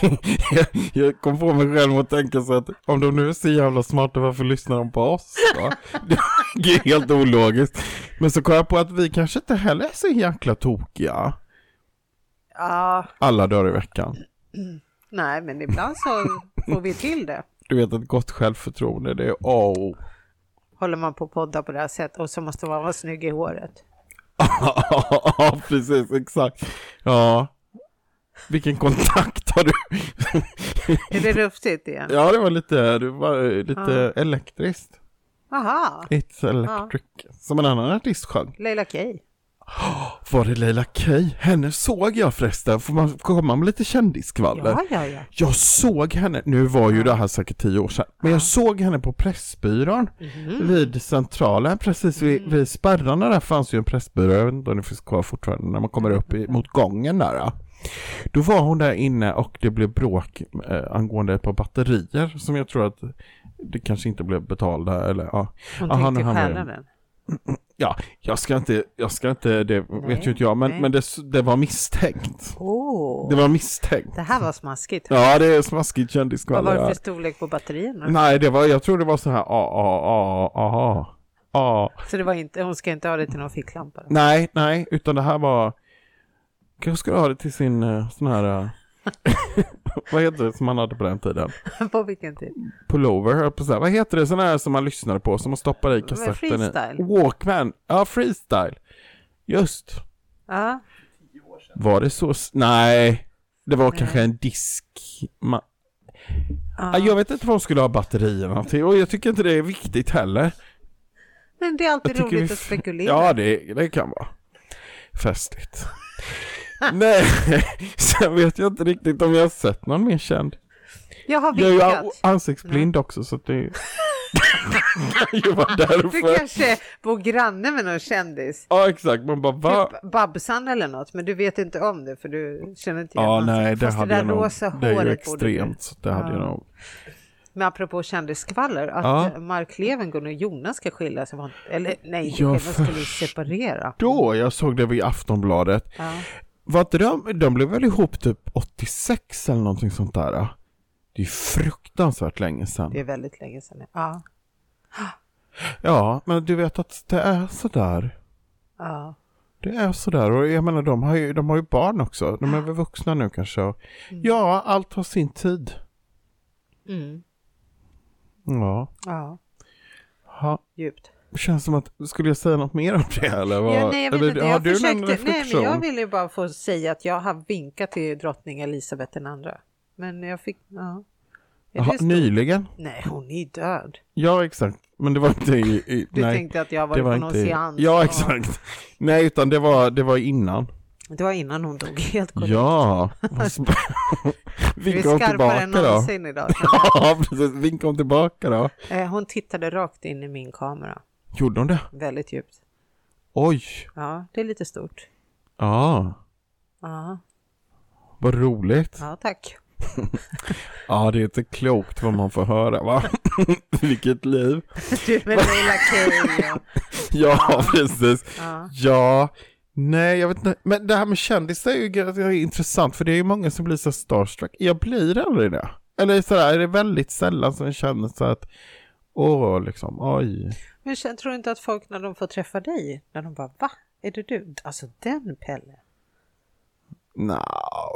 jag, jag kom på mig själv och tänka så att om de nu är så jävla smarta, varför lyssnar de på oss då? Det är helt ologiskt. Men så kom jag på att vi kanske inte heller är så jäkla tokiga
ja,
alla dagar i veckan.
nej men ibland så får vi till det.
Du vet, ett gott självförtroende, det är A och O.
Håller man på att podda på det här sättet och så måste man vara snygg i håret.
Ja, precis, exakt. Ja. Vilken kontakt har du?
Är det rufsigt igen?
ja, det var lite, det var lite elektriskt.
Aha,
It's electric. Som en annan artist sjöng.
Leila Kay.
Var det Leila Kay? Henne såg jag förresten. Får man komma med lite kändiskvaller?
Ja, ja, ja.
Jag såg henne, nu var ju det här säkert tio år sedan, men jag såg henne på Pressbyrån vid Centralen, precis vid, vid spärrarna där fanns ju en Pressbyrå, jag vet inte om det finns kvar fortfarande, när man kommer upp i, mot gången där. ja. Då var hon där inne och det blev bråk eh, angående ett par batterier som jag tror att det kanske inte blev betalda eller ja.
Hon
Ja, han-
tänkte
han var ju-
stjäla den.
Ja, jag ska inte, jag ska inte, det vet ju inte jag,
nej.
men, men det, s- det var misstänkt.
Åh,
Det var misstänkt.
det här var smaskigt.
Ja, det är smaskigt kändisskvaller.
Vad var det
ja.
för storlek på batterierna?
Nej, det var, jag tror det var så här, ah, ah, ah, ah, ah.
Så det var inte, hon ska inte ha det till någon ficklampa? då?
Nej, nej, utan det här var, kanske skulle ha det till sin eh, sån här, eh, vad heter det som man hade på den tiden?
på vilken tid?
Pullover, höll jag på så här. vad heter det, sån här som man lyssnade på, som man stoppar i kassetten
freestyle?
i? Walkman, ja freestyle. Just,
Ja,
var det så, s- nej, det var kanske en disk. Ma-
ja.
Ah, Jag vet inte vad de skulle ha batterierna till och jag tycker inte det är viktigt heller.
Men det är alltid
tycker
roligt
vi-
att spekulera.
Ja, det, det kan vara festligt. Nej, sen vet jag inte riktigt om jag har sett någon mer känd.
Jag har
Jag är ju a-
vinkat.
ansiktsblind också så att det kan ju vara
Du
därför.
kanske bor granne med någon kändis.
Ja, exakt. Man bara va?
Typ Babsan eller något, men du vet inte om det för du känner inte igen
Ja,
hans-
nej, det
Fast
hade jag
där
nog.
rosa
Det är ju
håret borde du-
extremt. Så det hade jag nog.
Men apropå kändisskvaller, att
Ja.
Mark Levengood och Jonas ska skiljas. som han- Eller nej, inte
Ja,
skiljas, de skulle ju
först-
separera.
Då, jag såg det vid Aftonbladet.
Ja.
Var inte de, de blev väl ihop typ 86 eller någonting sånt där? ja? Det är ju fruktansvärt länge sedan.
Det är väldigt länge sedan. Ja,
Ja, men du vet att det är sådär.
ja.
Det är sådär och jag menar de har ju, de har ju barn också. De är väl vuxna nu kanske. Och, ja, allt har sin tid.
Mm,
Ja.
ja.
Ha.
Djupt.
Känns som att, skulle jag säga något mer om det eller? Vad,
Ja, nej, jag vet
eller,
inte.
Har
Jag
du någon
försökte, nej, men
reflektion?
jag ville ju bara få säga att jag har vinkat till drottning Elisabeth den andra. Men jag fick, ja. Är
Jaha,
det stor-
nyligen?
Nej, hon är ju död.
Ja, exakt. Men det var inte i... i
Du
nej,
tänkte att jag var, på någon seans.
Ja, exakt. Nej, utan det var, det var innan.
Och Det var innan hon dog, helt
Mm.
korrekt.
Ja. vad sp-
Vi är
Vinka hon
skarpare
tillbaka
än
då.
någonsin idag.
Ja, precis. Vinka hon tillbaka då.
Eh, Hon tittade rakt in i min kamera,
Gjorde hon det?
väldigt djupt.
Oj.
Ja, det är lite stort.
Ja,
Ja,
vad roligt. Ja.
ja tack.
det är inte klokt vad man får höra va? Vilket liv.
Du med Leila Kay. och-
Ja, precis.
Ja.
Ja, nej jag vet inte. Men det här med kändisar är ju gre- det är intressant för det är ju många som blir så starstruck. Jag blir aldrig det. Eller sådär, är det väldigt sällan som jag känner så att Åh, liksom, oj.
Men sen tror du inte att folk när de får träffa dig, när de bara va? Är det du? Alltså den Pelle.
Nå,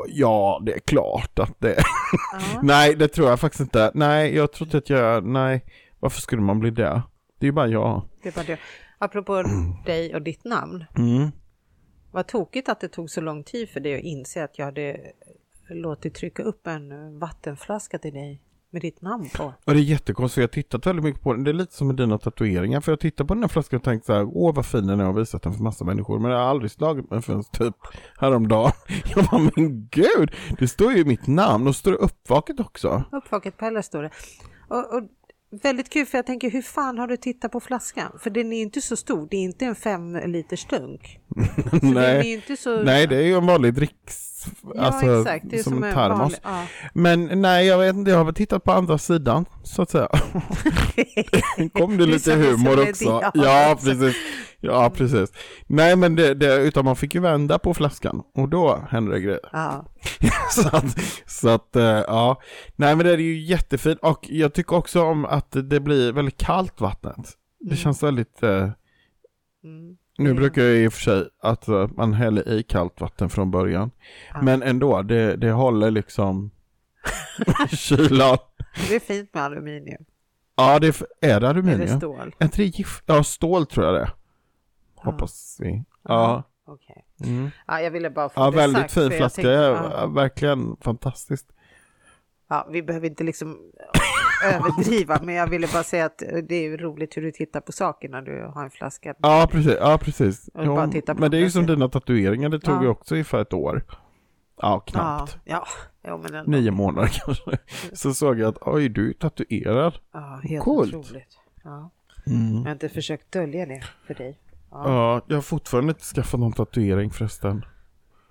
ja, det är klart att det Nej, det tror jag faktiskt inte. Nej, jag tror inte att jag, nej. Varför skulle man bli det? Det är ju bara jag.
Det var det. Apropå dig och ditt namn.
Mm.
Vad tokigt att det tog så lång tid för dig att inse att jag hade låtit trycka upp en vattenflaska till dig med ditt namn på.
Och det är jättekonstigt, för jag har tittat väldigt mycket på den. Det är lite som med dina tatueringar, för jag tittar på den här flaskan och tänkt så här, åh vad fin den är och visat den för massa människor, men jag har aldrig slagit mig förrän typ häromdagen. Jag bara, men gud, det står ju mitt namn och står det uppvaket också.
Uppvaket Pelle står det. Och, och väldigt kul för jag tänker hur fan har du tittat på flaskan? För den är inte så stor, det är inte en fem liters dunk. Så den Alltså, är ju
Nej.
inte så...
Nej, det är ju en vanlig dricks,
Ja
alltså
exakt, det är
som,
som,
en
en
termos.
vanlig- ja.
Men nej, jag vet inte, jag har väl tittat på andra sidan, så att säga. Kom det
Det är
lite
som- som
humor
är
också.
det, ja.
Ja, precis. Ja, precis. Nej, men det, det, utan man fick ju vända på flaskan och då hände det grejer.
Ja.
så att, så att eh, ja. Nej, men det är ju jättefint och jag tycker också om att det blir väldigt kallt vattnet. Det känns väldigt, eh,
Mm.
nu
Mm.
brukar jag i och för sig att eh, man häller i kallt vatten från början.
Ja.
Men ändå, det, det håller liksom kylan.
Det är fint med aluminium.
Ja, det är, är det
Eller
aluminium?
stål.
Är inte det gift? Ja, stål tror jag det är. Hoppas vi. Ja.
Okej.
Mm.
Ja, jag ville bara få
Ja,
det
väldigt
sagt,
fin
för jag
flaska.
tänkte-
ja.
ja.
Verkligen fantastiskt.
Ja, vi behöver inte liksom överdriva, men jag ville bara säga att det är ju roligt hur du tittar på saker när du har en flaska.
Ja, precis. Ja, precis.
Jag vill bara titta på
men det är ju
den.
som dina tatueringar, det tog
Ja.
ju också ungefär ett år. Ja, knappt.
Ja, ja jo, men ändå.
Nio månader kanske. Så såg jag att oj, du är tatuerad.
Ja, helt
Coolt.
otroligt. Ja.
Mm.
Jag har inte försökt dölja det för dig. Ja.
Ja, jag har fortfarande inte skaffat någon tatuering förresten.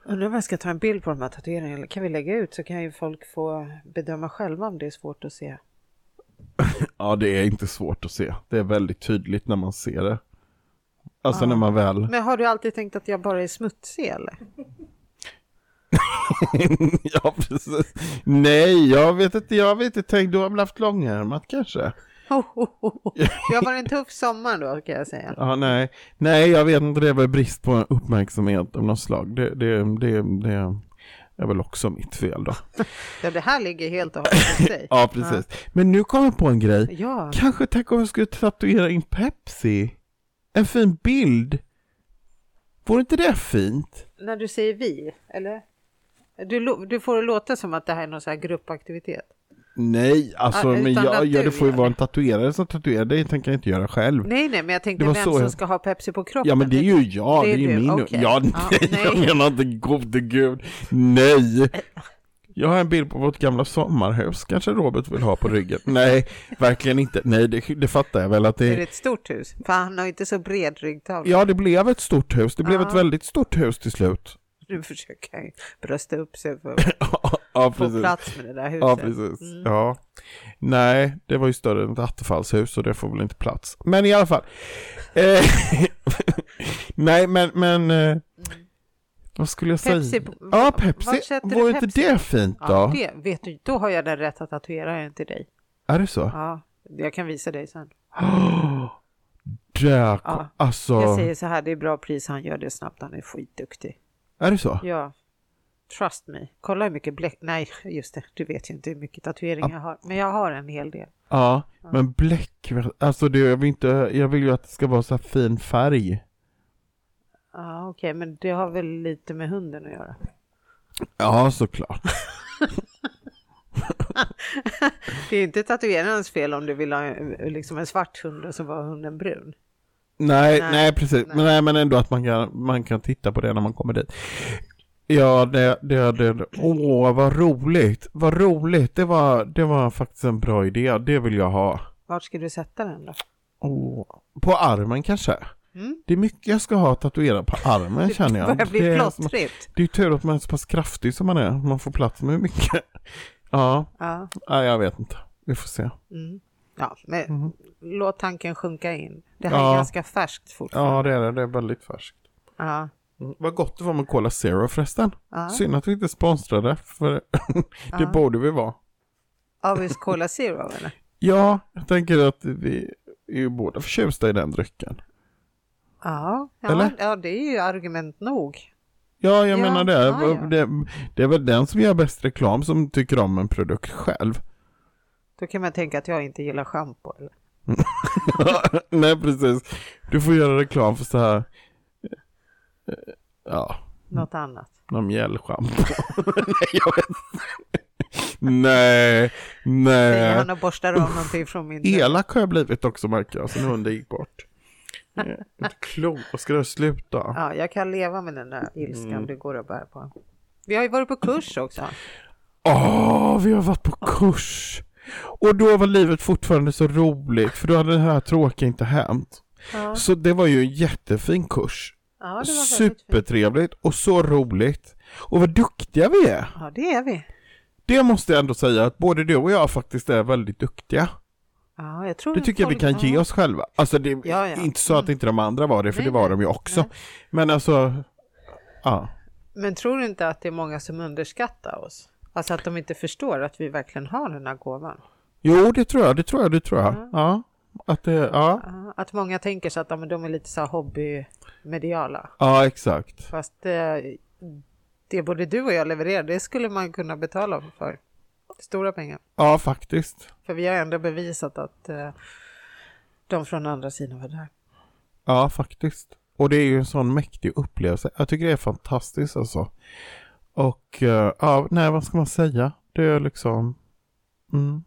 Undrar om jag ska ta en bild på de här tatueringarna. Kan vi lägga ut så kan ju folk få bedöma själva om det är svårt att se.
Ja, det är inte svårt att se. Det är väldigt tydligt när man ser det. Alltså när man väl...
Men har du alltid tänkt att jag bara är smutsig eller?
ja, precis. Nej, jag vet inte. Jag vet inte. Tänk, du har väl haft långärmat kanske?
Oh, oh, oh, oh. Det har varit en tuff sommar då kan jag säga.
Ja, nej. Nej, jag vet inte. Det är väl brist på uppmärksamhet av något slag. Det, det, det, det är väl också mitt fel då.
Ja, det här ligger helt och hållet hos dig.
Ja, precis. Men nu kom jag på en grej.
Ja,
Kanske tänk om jag skulle tatuera in Pepsi? En fin bild? Vore inte det fint?
när du säger vi, eller? Du, lo- du får det låta som att det här är någon så här gruppaktivitet.
Nej, alltså
Ja,
men
utan
jag,
att
ja,
du
det får ju
gör
vara en tatuerare som tatuerar dig, tänker jag inte göra själv.
Nej, nej, men jag tänkte
Det var
vem
så
som
jag-
ska ha Pepsi på kroppen.
Ja men det är ju jag,
det
det
är
är ju
du,
min.
okej.
Ja, nej,
Ja,
jag
nej.
menar inte gode gud. Nej. Jag har en bild på vårt gamla sommarhus, kanske Robert vill ha på ryggen. Nej, verkligen inte. Nej, det, det fattar jag väl att
Är det
det...
ett stort hus? För han har ju inte så bred ryggtavla.
Ja, det blev ett stort hus. Det blev
Ja.
ett väldigt stort hus till slut.
Nu försöker han ju brösta upp sig för att
ja,
få
precis.
plats med det där huset. Mm.
Ja, precis. Ja. Nej, det var ju större än ett attefallshus så det får väl inte plats. Men i alla fall. Eh, Nej, men, men eh, vad skulle jag
Mm. Pepsi
säga?
på-
ja,
var- var
Pepsi.
sätter du
Vore inte
Pepsi?
det fint då?
Ja, det vet du, då har jag den rätta tatueraren till dig.
Är det så?
Ja, jag kan visa dig sen.
Där, kom-
Ja. Jag
alltså,
säger så här, det är bra pris, han gör det snabbt, han är skitduktig.
är det så?
Ja, trust me. Kolla hur mycket bläck, nej just det, du vet ju inte hur mycket tatueringar jag har, men jag har en hel del.
Ja, men bläck, alltså det, jag, vill inte, jag vill ju att det ska vara så här fin färg.
Ja, okej, men det har väl lite med hunden att göra.
Ja, såklart.
Det är inte tatuerarens fel om du vill ha en, liksom en svart hund och så var hunden brun.
Nej, nej,
Nej,
precis. Men, nej, men ändå att man kan, man kan titta på det när man kommer dit. Ja, det, det, det, åh vad roligt, vad roligt, det var, det var faktiskt en bra idé, det vill jag ha.
Vart ska du sätta den då?
Åh, på armen kanske?
Mm.
Det är mycket jag ska ha tatuerat på armen känner jag.
börjar bli
Det är som-
plottrigt.
Det är ju tur att man är så pass kraftig som man är, man får plats med mycket. Ja,
Ja,
nej, jag vet inte, vi får se.
mm. ja men låt tanken sjunka in. Det här
Mhm. Ja.
är ganska färskt fortfarande.
Ja, det är det, det är väldigt färskt.
Ja.
Mm. Vad gott det var med Cola Zero förresten.
Ja.
Synd att vi inte sponsrade, för det borde vi vara.
Avis Cola Zero eller?
Ja, jag tänker att vi är ju båda förtjusta i den drycken.
Ja, ja,
Eller?
ja, det är ju argument nog.
Ja, jag
Ja,
menar det.
ja, ja.
det. Det är väl den som gör bäst reklam som tycker om en produkt själv.
Då kan man tänka att jag inte gillar schampo. Eller?
Nej, precis. Du får göra reklam för så här, eh, ja,
Något annat.
någon mjällschampo. nej, jag vet inte. nej, nej.
Säger han och borstar av någonting från min
Elak har jag blivit också märker jag, sen hunden gick bort. Eh, Inte klokt, vad ska det sluta?
Ja, jag kan leva med den
Mm.
där ilskan du går och bär på. Vi har ju varit på kurs också.
Åh, vi har varit på kurs! Och då var livet fortfarande så roligt, för då hade det här tråkiga inte hänt.
Ja,
Så det var ju en jättefin kurs.
ja det var väldigt fint.
Supertrevligt och så roligt. Och vad duktiga vi är!
Ja, det är vi.
Det måste jag ändå säga att både du och jag faktiskt är väldigt duktiga.
Ja, jag tror
Det tycker jag vi
folk-
kan ge
Mm, ja.
oss själva. Alltså det är
Ja, ja.
inte så att inte de andra var det, för
Nej,
det var
nej.
de ju också.
Nej.
Men alltså, ja.
Men tror du inte att det är många som underskattar oss? Alltså att de inte förstår att vi verkligen har den här gåvan.
Jo, det tror jag, det tror jag, det tror jag. Ja, att det, ja.
Ja, Att många tänker sig att ja, men de är lite så här hobbymediala.
Ja, exakt.
Fast eh, det både du och jag levererar, det skulle man kunna betala för. Stora pengar.
Ja, faktiskt.
För vi har ändå bevisat att eh, de från andra sidan var där.
Ja, faktiskt. Och det är ju en sån mäktig upplevelse. Jag tycker det är fantastiskt alltså. Och eh, ja, nej, vad ska man säga? Det är liksom... Mm.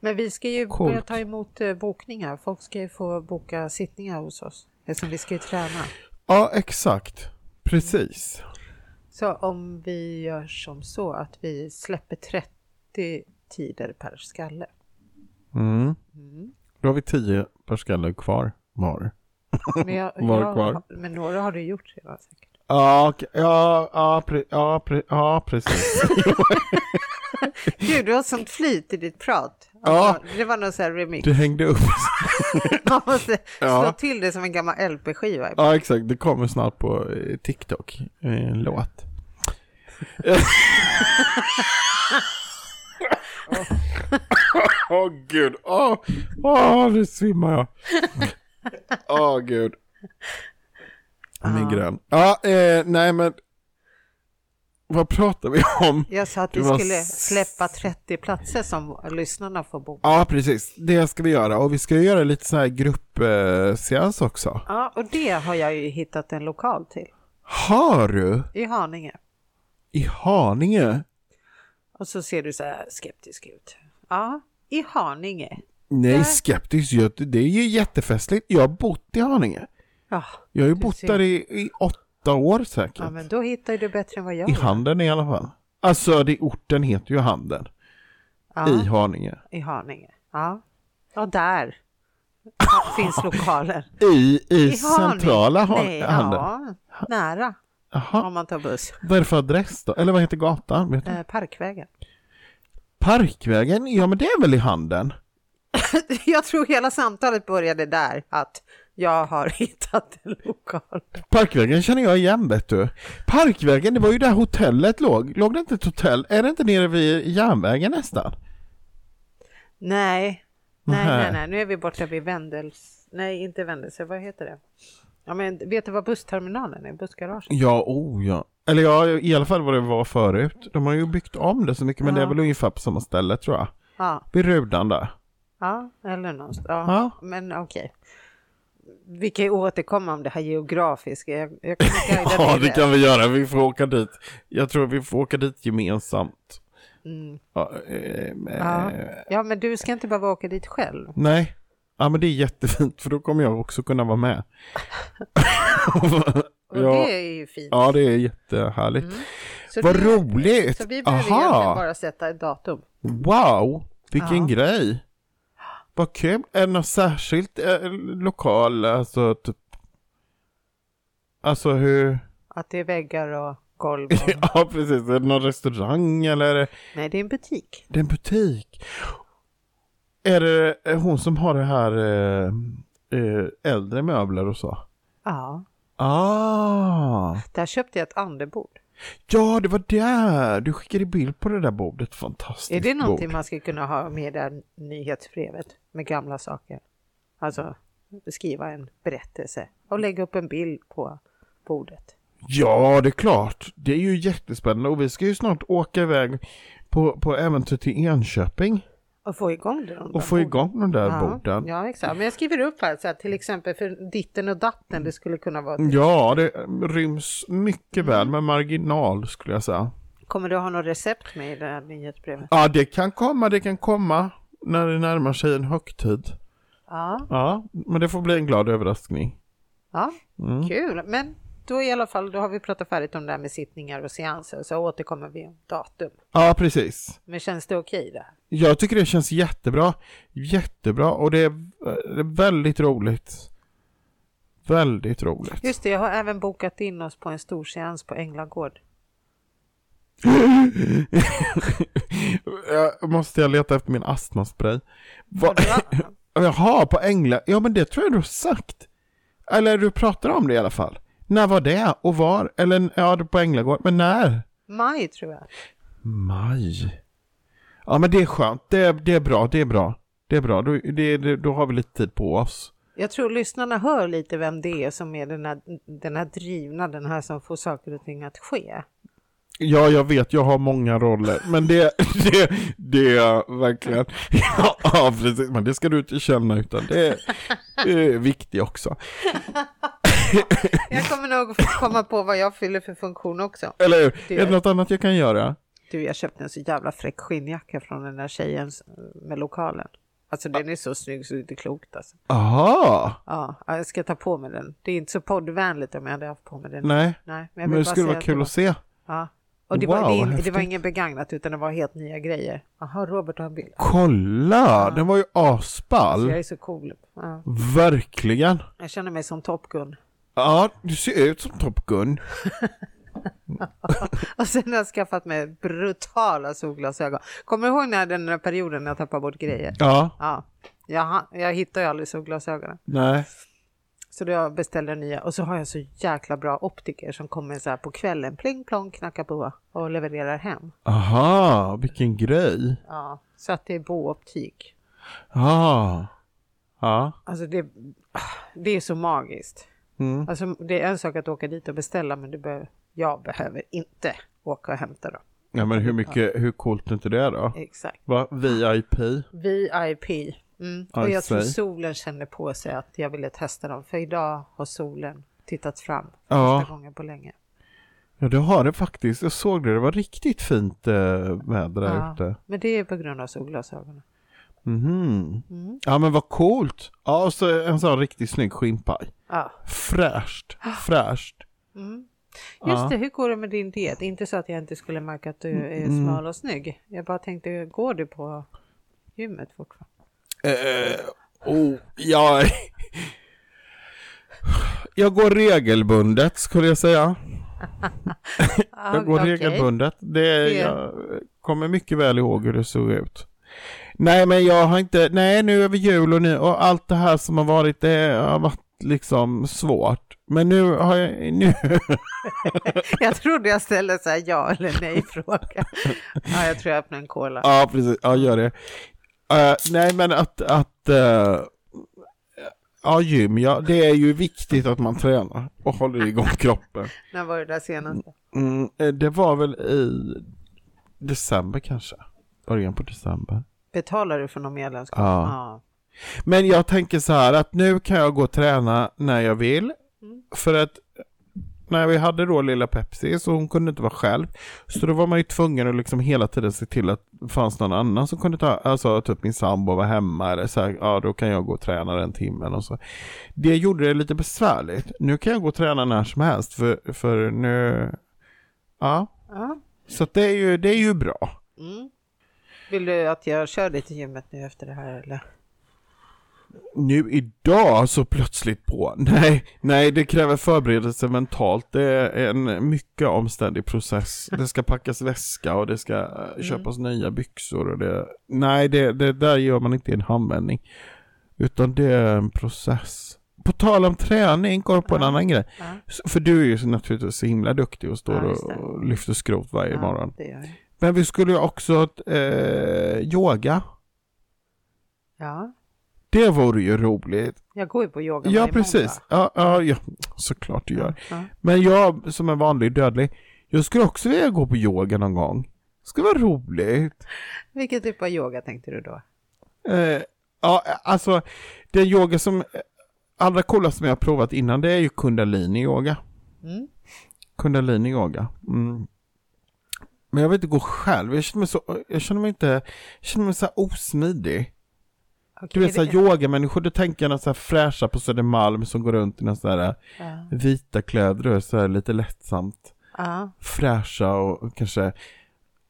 Men vi ska ju
Coolt.
börja ta emot eh, bokningar. Folk ska ju få boka sittningar hos oss. Eftersom vi ska ju träna.
Ja, exakt. Precis.
Så om vi gör som så att vi släpper 30 tider per skalle.
Mm. Då har vi tio per skalle kvar var.
Men, jag,
Var
jag,
kvar.
men några har du gjort redan säkert.
Ja, okej. ja, ja, pre, ja, pre, ja, precis.
Gud, du har sånt flyt i ditt prat.
Ja.
Alltså, Det var någon sån här remix.
Du hängde upp.
Man måste slå
Ja.
till det som en gammal LP-skiva.
Ja, exakt. Det kommer snart på eh, TikTok. eh, En låt. Åh gud, åh, åh, nu svimmar jag. Åh gud. Migrän. Ja, eh, nej men. Vad pratar vi om?
Jag sa att
Det
vi
var
skulle
s-
släppa 30 platser som lyssnarna får boka.
Ja, precis. Det ska vi göra. Och vi ska ju göra lite sån här gruppseans också.
Ja, och det har jag ju hittat en lokal till
Har du?
i Haninge.
I Haninge?
Och så ser du så här skeptisk ut. Ja, i Haninge.
Nej, skeptisk. jag- Det är ju jättefestligt. Jag har bott i Haninge.
Ja,
Jag har ju bott
ser.
där i, i åtta år säkert.
ja men då hittar ju du bättre än vad jag
I
gör.
Handen i alla fall. Alltså, det, orten heter ju Handen i
Ja,
Haninge.
I Haninge. Ja, ja där Ja, finns lokalen.
I, i,
I Haninge.
centrala Han-
Nej,
Handen.
ja, nära
Jaha,
om man tar buss.
vad är det för adress då? Eller vad heter gatan? Vet du?
Eh, Parkvägen.
Parkvägen? Ja, men det är väl i Handen?
Jag tror hela samtalet började där, att jag har hittat en lokal.
Parkvägen känner jag igen vet du. Parkvägen, det var ju där hotellet låg. Låg det inte ett hotell? Är det inte nere vid järnvägen nästan?
Nej, nej,
Nähä.
nej, nej. nu är vi borta vid Vendels... Nej, inte Vendelse, vad heter det? Ja, men vet du vad bussterminalen är? Bussgaraget?
Ja, oh ja. Eller ja, i alla fall vad det var förut. De har ju byggt om det så mycket, men det är väl ungefär på samma ställe tror jag.
Ja,
Vid Rudan där.
ja eller någonstans. Ja,
Ja.
men okej. Vi kan ju återkomma om det här geografiska. Jag, jag kan guida
Ja,
dig
det
rätt.
kan vi göra. Vi får åka dit. Jag tror vi får åka dit gemensamt.
Mm.
Ja, eh,
Ja.
eh,
ja, men du ska inte behöva åka dit själv.
Nej. Ja, men det är jättefint, för då kommer jag också kunna vara med.
Och
ja,
det är ju fint.
ja, det är jättehärligt.
så,
Vad
vi,
roligt!
så vi behöver egentligen
Aha!
bara sätta ett datum.
Wow! Vilken
Ja.
grej! Vad kul! Är det något särskilt eh, lokal? Alltså, typ... Alltså hur...
Att det är väggar och golv. Och...
Ja, precis. Är det någon restaurang eller är det,
Nej, det är en butik.
det är en butik? Är det eh, hon som har det här eh, eh, äldre möbler och så?
Ja,
Ah!
där köpte jag ett andebord.
Ja, det var där! Du skickade bild på det där bordet. Fantastiskt
Är det någonting
bord.
man ska kunna ha med i det här nyhetsbrevet med gamla saker? Alltså skriva en berättelse och lägga upp en bild på bordet.
Ja, det är klart. Det är ju jättespännande och vi ska ju snart åka iväg på, på äventyr till Enköping
Och få igång det.
och få igång de där
ja,
borden. Ja,
ja, exakt. Men jag skriver upp här så att till exempel för ditten och datten, det skulle kunna vara.
Mm. det ryms mycket
Mm.
väl med marginal skulle jag säga.
Kommer du ha något recept med i det här nyhetsbrevet?
Ja, det kan komma, det kan komma när det närmar sig en högtid.
Ja,
Ja, men det får bli en glad överraskning.
ja,
Mm.
kul. Men då i alla fall, då har vi pratat färdigt om det här med sittningar och seanser, så återkommer vi om datum.
Ja, precis.
Men känns det okej det här?
Jag tycker det känns jättebra. Jättebra och det är eh, det är väldigt roligt. Väldigt roligt.
Just det, jag har även bokat in oss på en stor seans på Änglagård.
jag Eh, måste jag leta efter min astmaspray? Va?
Bra.
Jaha, på England? Ja, men det tror jag du har sagt. Eller du pratar om det i alla fall. När var det och var? Eller ja, det på Änglagård, men när?
Maj tror jag.
Maj. Ja, men det är skönt. Det är, det är bra, det är bra. Det är bra, då, det, det, då har vi lite tid på oss.
Jag tror lyssnarna hör lite vem det är som är den här, den här drivna, den här som får saker och ting att ske.
Ja, jag vet, jag har många roller, men det, det, det är verkligen, ja precis, men det ska du inte känna utan det är, det är viktigt också.
Jag kommer nog få komma på vad jag fyller för funktion också.
Eller hur?
Det
Är
är-
det något annat jag kan göra?
Du, jag köpte en så jävla fräck skinnjacka från den där tjejen s- med lokalen. Alltså den är så snygg så det är inte klokt alltså.
Aha,
Ja, ja, jag ska ta på mig den. Det är inte så poddvänligt om jag hade haft på mig den.
nej,
Nej men jag
men
vill
det
bara
skulle
säga
vara kul
det
att se.
Ja. Och det,
Wow,
var, det, det var
häftigt.
inget begagnat utan det var helt nya grejer. Jaha, Robert har en bild.
Kolla, den var ju
Så
asball.
jag är så cool. Ja.
Verkligen.
Jag känner mig som Top Gun.
Ja, du ser ut som Top Gun.
Och sen har jag skaffat mig brutala solglasögon. Kommer du ihåg när den där perioden när jag tappade bort grejer?
Ja,
Ja, jag, ha- jag hittar ju aldrig solglasögonen.
nej.
Så då jag beställde nya och så har jag så jäkla bra optiker som kommer så här på kvällen, pling plong, knackar på och levererar hem.
Aha, vilken grej.
Ja, så att det är Bo-optik.
Ja. Ja.
Alltså det, det är så magiskt.
Mm.
Alltså det är en sak att åka dit och beställa men du behöver, jag behöver inte åka och hämta dem.
Ja, men hur mycket, hur coolt är inte det då?
Exakt.
Va? VIP?
VIP. Mm.
Ja,
Och
i
jag tror
sig.
solen kände på sig att jag ville testa dem. För idag har solen tittat fram första
Ja.
gången på länge.
Ja, det har det faktiskt. Jag såg det. Det var riktigt fint eh, väder där
Ja.
ute.
Men det är på grund av solglasögonen.
Mhm.
Mm.
Ja, men vad coolt. Ja, och så en sån riktigt snygg skinnpaj.
Ja.
Fräscht,
Ah.
fräscht.
Just det, hur går det med din diet? Inte så att jag inte skulle märka att
Mm,
du är smal och snygg. Jag bara tänkte, går du på gymmet fortfarande?
Eh, oh, jag... jag går regelbundet skulle jag säga.
Ah,
Jag går
okej.
regelbundet. Det,
Det-
Jag kommer mycket väl ihåg hur det såg ut. Nej, men jag har inte, nej nu över jul och, nu, och allt det här som har varit, det har varit liksom svårt. Men nu har jag, nu,
Jag trodde jag ställde så här ja eller nej fråga. Ja, jag tror jag öppnar en cola.
ja precis, ja gör det. Eh, nej men att, att eh, ja gym, ja, det är ju viktigt att man tränar och håller igång kroppen.
När var det där senaste?
Mm, eh, det var väl i december kanske, början på december.
Betalar du för någon medlemskap?
Ja. Men jag tänker så här att nu kan jag gå och träna när jag vill. För att när vi hade då lilla Pepsi så hon kunde inte vara själv. Så då var man ju tvungen att liksom hela tiden se till att det fanns någon annan som kunde ta, alltså typ min sambo var hemma eller så här, ja då kan jag gå och träna den timmen och så. Det gjorde det lite besvärligt. Nu kan jag gå och träna när som helst för, för nu, ja.
Ja.
Så att det är ju, det är ju bra.
Mm. Vill du att jag kör dig till gymmet nu efter det här eller?
nu idag så plötsligt på. Nej, nej, det kräver förberedelse mentalt. Det är en mycket omständig process. Det ska packas väska och det ska eh,
Mm.
köpas nya byxor och det. Nej, det, det där gör man inte i en handvändning. Utan det är en process. På tal om träning, går på en annan grej.
Ja.
S- För du är ju så naturligtvis så himla duktig och står
Ja, just det.
och och lyfter skrot varje morgon.
det gör jag.
Men vi skulle ju också eh, yoga.
Ja,
Det vore ju roligt.
jag går ju på yoga
Ja,
varje
precis.
måndag.
Ja, ja, ja, såklart du gör.
Ja.
Men jag som är vanlig dödlig, jag skulle också vilja gå på yoga någon gång. Det skulle vara roligt.
Vilken typ av yoga tänkte du då?
Eh, ja, alltså, den yoga som, eh, allra coolaste som jag har provat innan, det är ju kundalini-yoga.
Mm.
Kundalini-yoga. Mm. Men jag vill inte gå själv, jag känner mig så, jag känner mig inte, jag känner mig så här osmidig.
Okej,
Du vet
det-
såhär yogamänniskor, då tänker jag någon så här fräscha på Södermalm som går runt i någon sån här eh,
Ja.
vita kläder och är så här lite lättsamt
Ja.
fräscha och kanske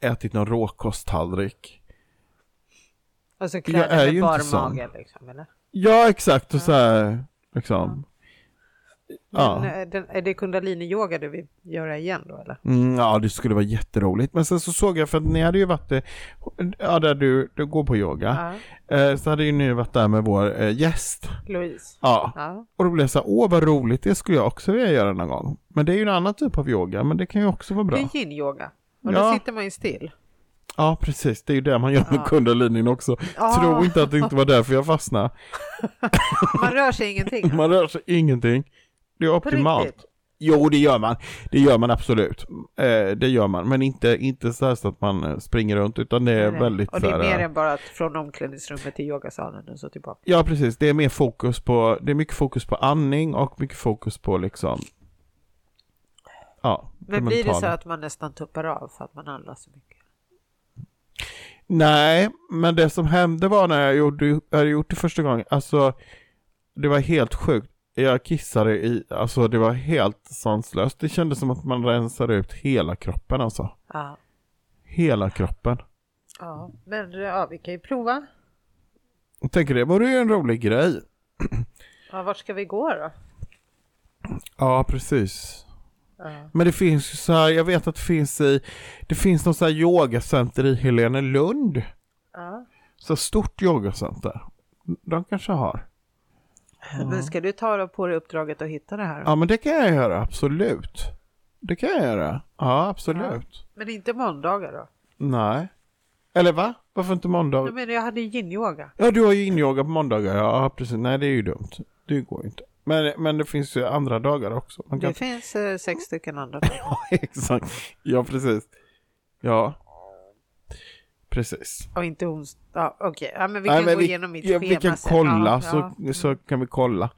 ätit någon råkosttallrik.
Och så
Jag är
kläder
ju
med
inte
bar
sån.
mage liksom eller?
Ja, exakt och så här liksom. Ja.
Men, eh, den, är det kundalini-yoga du vill göra igen då eller?
Mm, ja, det skulle vara jätteroligt. Men sen så såg jag, för att ni hade ju varit eh, ja, där du, du går på yoga,
Ja.
eh, så hade ju ni varit där med vår eh, gäst.
Louise?
Ja.
Ja.
Och då blev jag så här, åh vad roligt, det skulle jag också vilja göra någon gång. Men det är ju en annan typ av yoga, men det kan ju också vara
Det
bra.
är yin-yoga. Och
Ja.
då sitter man ju still.
Ja, precis. Det är ju det man gör med
Ja.
kundalinin också.
Ja.
Tro inte att det inte var därför jag fastnade.
Man rör sig ingenting.
Man rör sig ingenting. Det är optimalt.
riktigt?
Jo, det gör man. Det gör man absolut. Eh, det gör man, men inte, inte så, här så att man eh, springer runt, utan det är
Nej.
väldigt
Och det
så
är
här,
mer
eh,
än bara att från omklädningsrummet till yogasalen och så tillbaka.
Ja, precis. Det är mer fokus på, det är mycket fokus på andning och mycket fokus på liksom, ja.
Men blir det
mentala.
så att man nästan tuppar av för att man handlar så mycket?
Nej, men det som hände var när jag gjorde, hade gjort det första gången, alltså det var helt sjukt. Jag kissade i, alltså det var helt sanslöst. Det kändes som att man rensade ut hela kroppen alltså.
Ja.
Hela kroppen.
ja. Men ja, vi kan ju prova.
Jag tänker det vore ju en rolig grej.
Ja, vart ska vi gå då?
Ja, precis.
Ja.
Men det finns ju så här, jag vet att det finns i, det finns något så här yogacenter i Helene Lund.
Ja.
Så stort yogacenter. De kanske har.
Men ska du ta på dig uppdraget att hitta det här?
Ja, men det kan jag göra, absolut. Det kan jag göra. Ja, absolut.
Men inte måndagar då?
Nej. Eller va? Varför inte måndag?
Nej, men jag hade ju yin-yoga.
Ja, du har ju inyoga på måndagar. Ja, precis. Nej, det är ju dumt. Det går ju inte. Men, men det finns ju andra dagar också. Man kan...
Det finns eh, sex stycken andra. dagar.
Ja, exakt. Ja, precis. Ja. Precis.
Och inte onsdag. Ja, Okej, ja, men vi
Nej,
kan
men
gå igenom mitt
ja,
schema
Vi kan
sen.
kolla,
Ja,
så,
ja.
så kan vi kolla.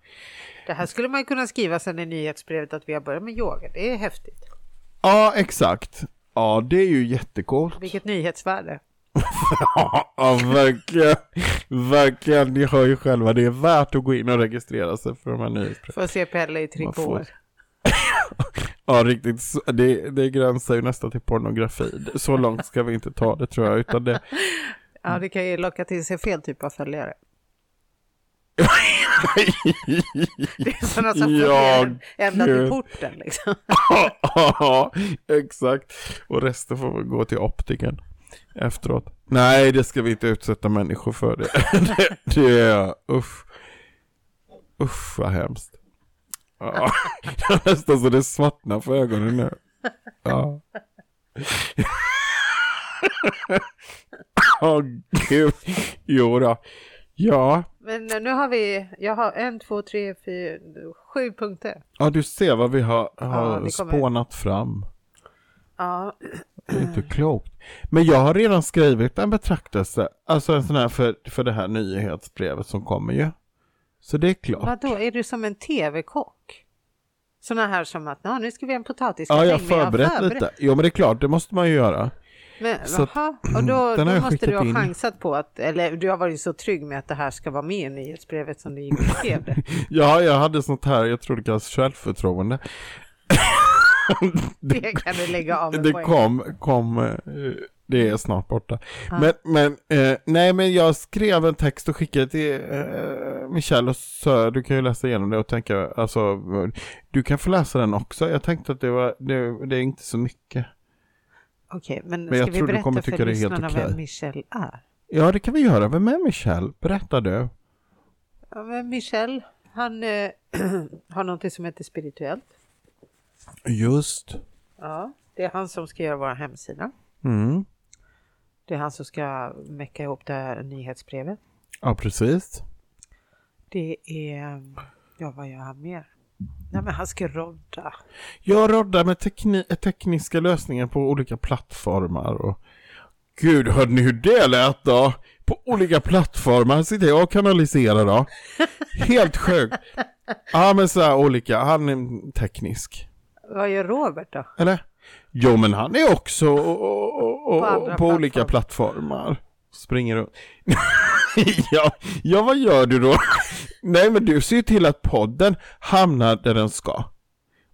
Det här skulle man ju kunna skriva sen i nyhetsbrevet att vi har börjat med yoga. Det är häftigt.
Ja, exakt. Ja, det är ju jättecoolt.
Vilket nyhetsvärde.
Ja, verkligen. Verkligen. Ni hör ju själva. Det är värt att gå in och registrera sig för de här nyhetsbreven.
Får se Pelle i
Man får-
trikåer.
Ja, riktigt. Så- Det, det gränsar ju nästan till pornografi. Så långt ska vi inte ta det tror jag, utan det... Mm.
Ja, det kan ju locka till sig fel typ av följare. Det är sådana som
Ja,
följer en ända till
gud.
porten liksom.
Ja, exakt. Och resten får väl gå till optiken efteråt. Nej, det ska vi inte utsätta människor för. Det, det, det är... Usch. Usch, vad hemskt. Ja, det är nästan så det svartnar för ögonen nu. Ja. Åh gud. Jo då. Ja.
Men eh, nu har vi, jag har en, två, tre, fyra, sju punkter.
Ja, du ser vad vi har, har
vi kommer-
spånat fram.
Ja,
Det är inte klokt. Men jag har redan skrivit en betraktelse, alltså en sån här för, för det här nyhetsbrevet som kommer ju. Så det är klart.
vadå, är du som en tv-kock? Sådana här som att, "Ja, nu ska vi göra en potatisgratäng.
Ja, jag har
men har
förberett lite. Jo, men det är klart, det måste man ju göra.
Men,
Så att- mm,
jaha, och då,
Den har
då
jag
måste du
skickat
ha
in.
chansat på att, eller du har varit så trygg med att det här ska vara med i nyhetsbrevet som du gick och skrev det.
Ja, jag hade sånt här, jag tror det kallas självförtroende.
Det kan du lägga av med
Det
poäng.
kom, kom, eh, det är snart borta. Men, men, eh, nej men jag skrev en text och skickade till eh, Michelle och Sö, du kan ju läsa igenom det och tänka, alltså, du kan få läsa den också. Jag tänkte att det var, det, det är inte så mycket.
Okej, men,
jag
ska vi
tror du
berätta
kommer
för
tycka det är helt
lyssnarna
okej.
vem Michelle är?
Ja, det kan vi göra. Vem är Michelle? Berätta du.
Ja, men Michel, han eh, har någonting som heter spirituellt.
Just.
Ja, det är han som ska göra vår hemsida.
Mm.
Det är han som ska mecka ihop det här nyhetsbrevet.
Ja, precis.
Det är, ja vad gör han mer? Nej men han ska rodda.
Jag roddar med tekni- tekniska lösningar på olika plattformar och Gud, hörde ni hur det lät då? På olika plattformar sitter jag och kanaliserar då. Helt sjukt. Ja, men så här olika. Han är teknisk.
Vad gör Robert då?
Eller? Jo, men han är också och, och, och,
På
och,
andra
på, olika plattformar. Springer runt. ja, ja, vad gör du då? Nej, men du ser ju till att podden hamnar där den ska.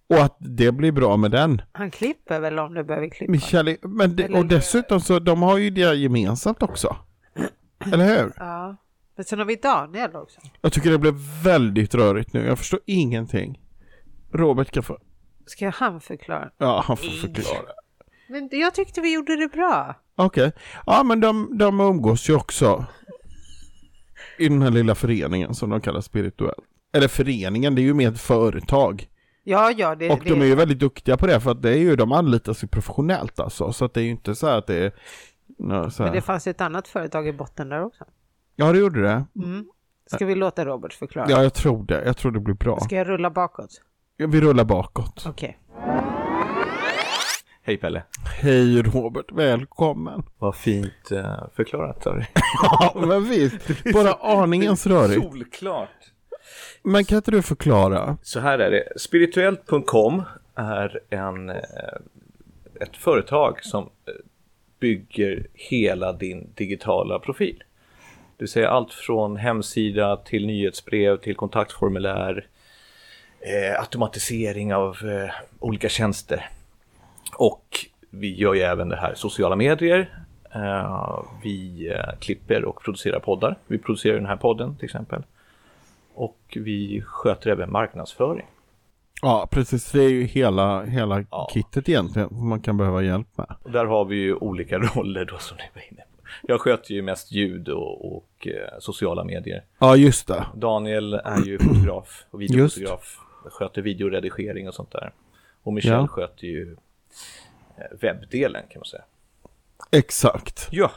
Och att det blir bra med den.
Han klipper väl om du behöver klippa?
Michelle, men det,
Eller-
och dessutom så de har ju det gemensamt också. Eller hur?
Ja. Men sen har vi Daniel också.
Jag tycker det blev väldigt rörigt nu. Jag förstår ingenting. Robert kan få...
Ska han förklara?
Ja, han får förklara.
Men jag tyckte vi gjorde det bra.
Okej. Ja, men de, de umgås ju också. I den här lilla föreningen som de kallar spirituell. Eller föreningen, det är ju mer ett företag.
Ja, ja, det,
Och
det,
de är ju väldigt duktiga på det för att det är ju, de anlitas ju professionellt alltså. Så att det är ju inte så här att det är... nå, så
men det
här.
fanns ju ett annat företag i botten där också.
Ja, det gjorde det.
Ska vi låta Robert förklara?
Ja, jag tror det. Jag tror det blir bra.
Ska jag rulla bakåt?
Vi rullar bakåt.
Okej.
Hej Pelle.
Hej Robert, välkommen.
Vad fint eh, förklarat av dig.
Ja, men visst. Bara aningens rörigt.
Solklart.
Men kan inte du förklara?
Så här är det. Spirituellt.com är en, eh, ett företag som eh, bygger hela din digitala profil. Det vill säga allt från hemsida till nyhetsbrev till kontaktformulär, eh, automatisering av eh, olika tjänster. Och vi gör ju även det här sociala medier. Eh, vi eh, klipper och producerar poddar. Vi producerar den här podden till exempel. Och vi sköter även marknadsföring.
Ja, precis. Det är ju hela, hela
Ja.
kittet egentligen som man kan behöva hjälp med.
Och där har vi ju olika roller då som ni var inne på. Jag sköter ju mest ljud och, och eh, sociala medier.
Ja, just det.
Daniel är ju fotograf och videofotograf. Sköter videoredigering och sånt där. Och Michel
Ja.
sköter ju eh, webbdelen kan man säga.
Exakt.
Ja,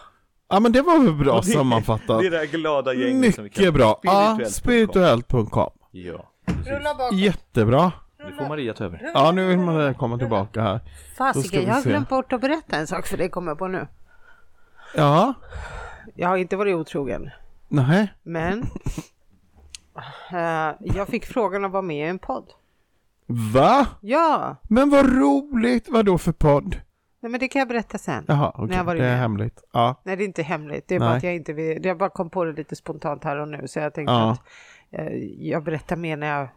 Ja, men det var väl bra
det-
sammanfattat.
det är det här glada gänget som vi kan...
Mycket bra. Ja,
Spirituellt.com.
spirituellt.com.
Ja,
Rulla bakåt.
Jättebra.
nu får Maria ta över.
Ja, nu vill man komma tillbaka här. Då ska
Fasiken,
vi
jag har
se.
glömt bort att berätta en sak för dig kommer jag på nu.
Ja,
Jag har inte varit otrogen,
nej.
men eh, jag fick frågan att vara med i en podd.
Va?
Ja,
Men vad roligt. Vad då för podd?
nej, men det kan jag berätta sen.
Jaha,
När
okej.
jag var
Det är
med.
hemligt. Ja.
Nej, det är inte hemligt. Det är bara
Nej.
att jag inte vill, jag bara kom på det lite spontant här och nu, så jag tänkte
Ja.
att eh, jag berättar mer när jag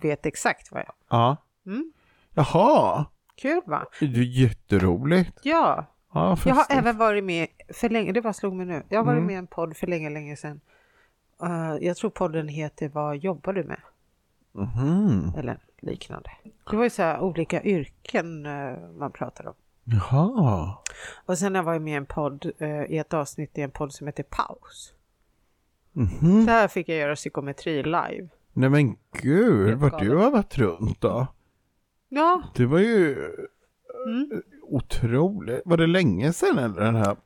vet exakt vad jag...
Ja.
Mm.
Jaha.
Kul va?
Det är jätteroligt.
Ja,
Ja,
jag har
festligt.
även varit med för länge, det bara slog mig nu. Jag har varit
Mm.
med i en podd för länge, länge sedan. Eh, jag tror podden heter Vad jobbar du med?
Mhm.
Eller liknande. Det var ju så här olika yrken eh, man pratade om.
Jaha.
Och sen har jag varit med i en podd, eh, i ett avsnitt i en podd som heter Paus.
Mhm.
Där fick jag göra psykometri live.
Nej men gud,
Helt
vad
galet.
du har varit runt då.
Ja,
Det var ju
Mm.
otroligt. Var det länge sedan eller den här?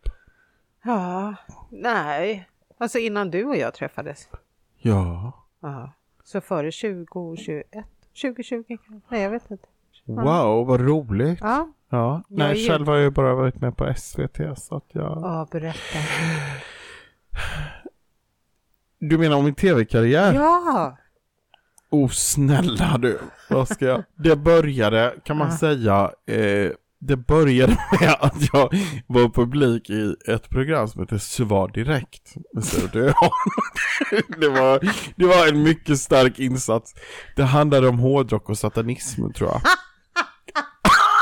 ja, nej. Alltså innan du och jag träffades.
Ja.
Ja. Så före 2021, 2020 kanske? Nej, jag vet inte.
Wow, vad roligt.
Ja,
Ja.
Jag
Nej,
är ju-
själv har jag ju bara varit med på SVT så att jag...
ja berätta.
Du menar om min tv-karriär?
Ja!
Oh snälla du, vad ska jag? Det började, kan man
Ja.
säga, eh, det började med att jag var publik i ett program som heter Svar Direkt. Men så det- Det var, det var en mycket stark insats. Det handlade om hårdrock och satanism tror jag.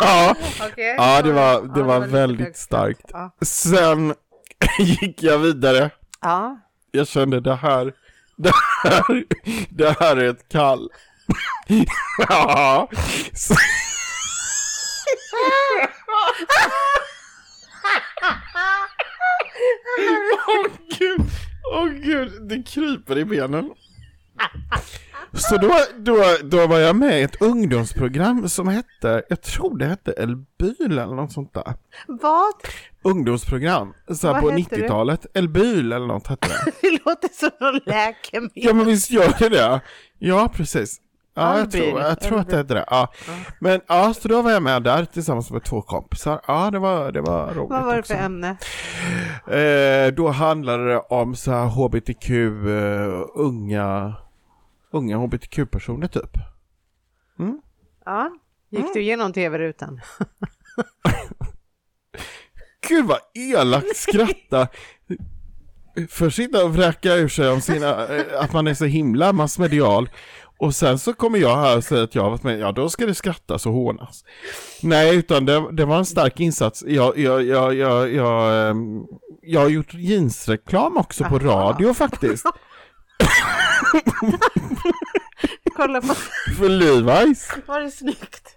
Ja,
Okej.
ja det var,
Ja,
det var
lite
väldigt
högt.
starkt.
Ja.
Sen gick jag vidare
ja.
jag kände det här, det här, det här är ett kall. ja. Så... Åh gud, åh gud, det kryper i benen. Så då, då, då var jag med i ett ungdomsprogram som hette, jag tror det hette Elbyl eller något sånt där.
Vad?
Ungdomsprogram, så här
Vad
på
hette det?
90-talet. Elbyl eller något hette det.
Det låter som någon läkemedel.
Ja men visst gör det det? Ja precis. Ja, jag
Albin.
tror, jag tror att det är det. Ja.
Ja.
Men ja, så då var jag med där tillsammans med två kompisar. Ja, det var, det var roligt
Vad var det
också.
för ämne?
Eh, då handlade det om så här hbtq, eh, unga, unga hbtq-personer typ.
Ja. Gick du igenom tv-rutan?
Gud vad elakt skratta. Först sitta och vräka ur sig om sina, eh, att man är så himla massmedial. Och sen så kommer jag här och säger att jag har varit med, ja då ska det skrattas och hånas. Nej, utan det, det var en stark insats. Jag, jag, jag, jag, jag, ehm, jag har gjort jeansreklam också på radio faktiskt.
kolla på...
För Levi's?
Var det snyggt?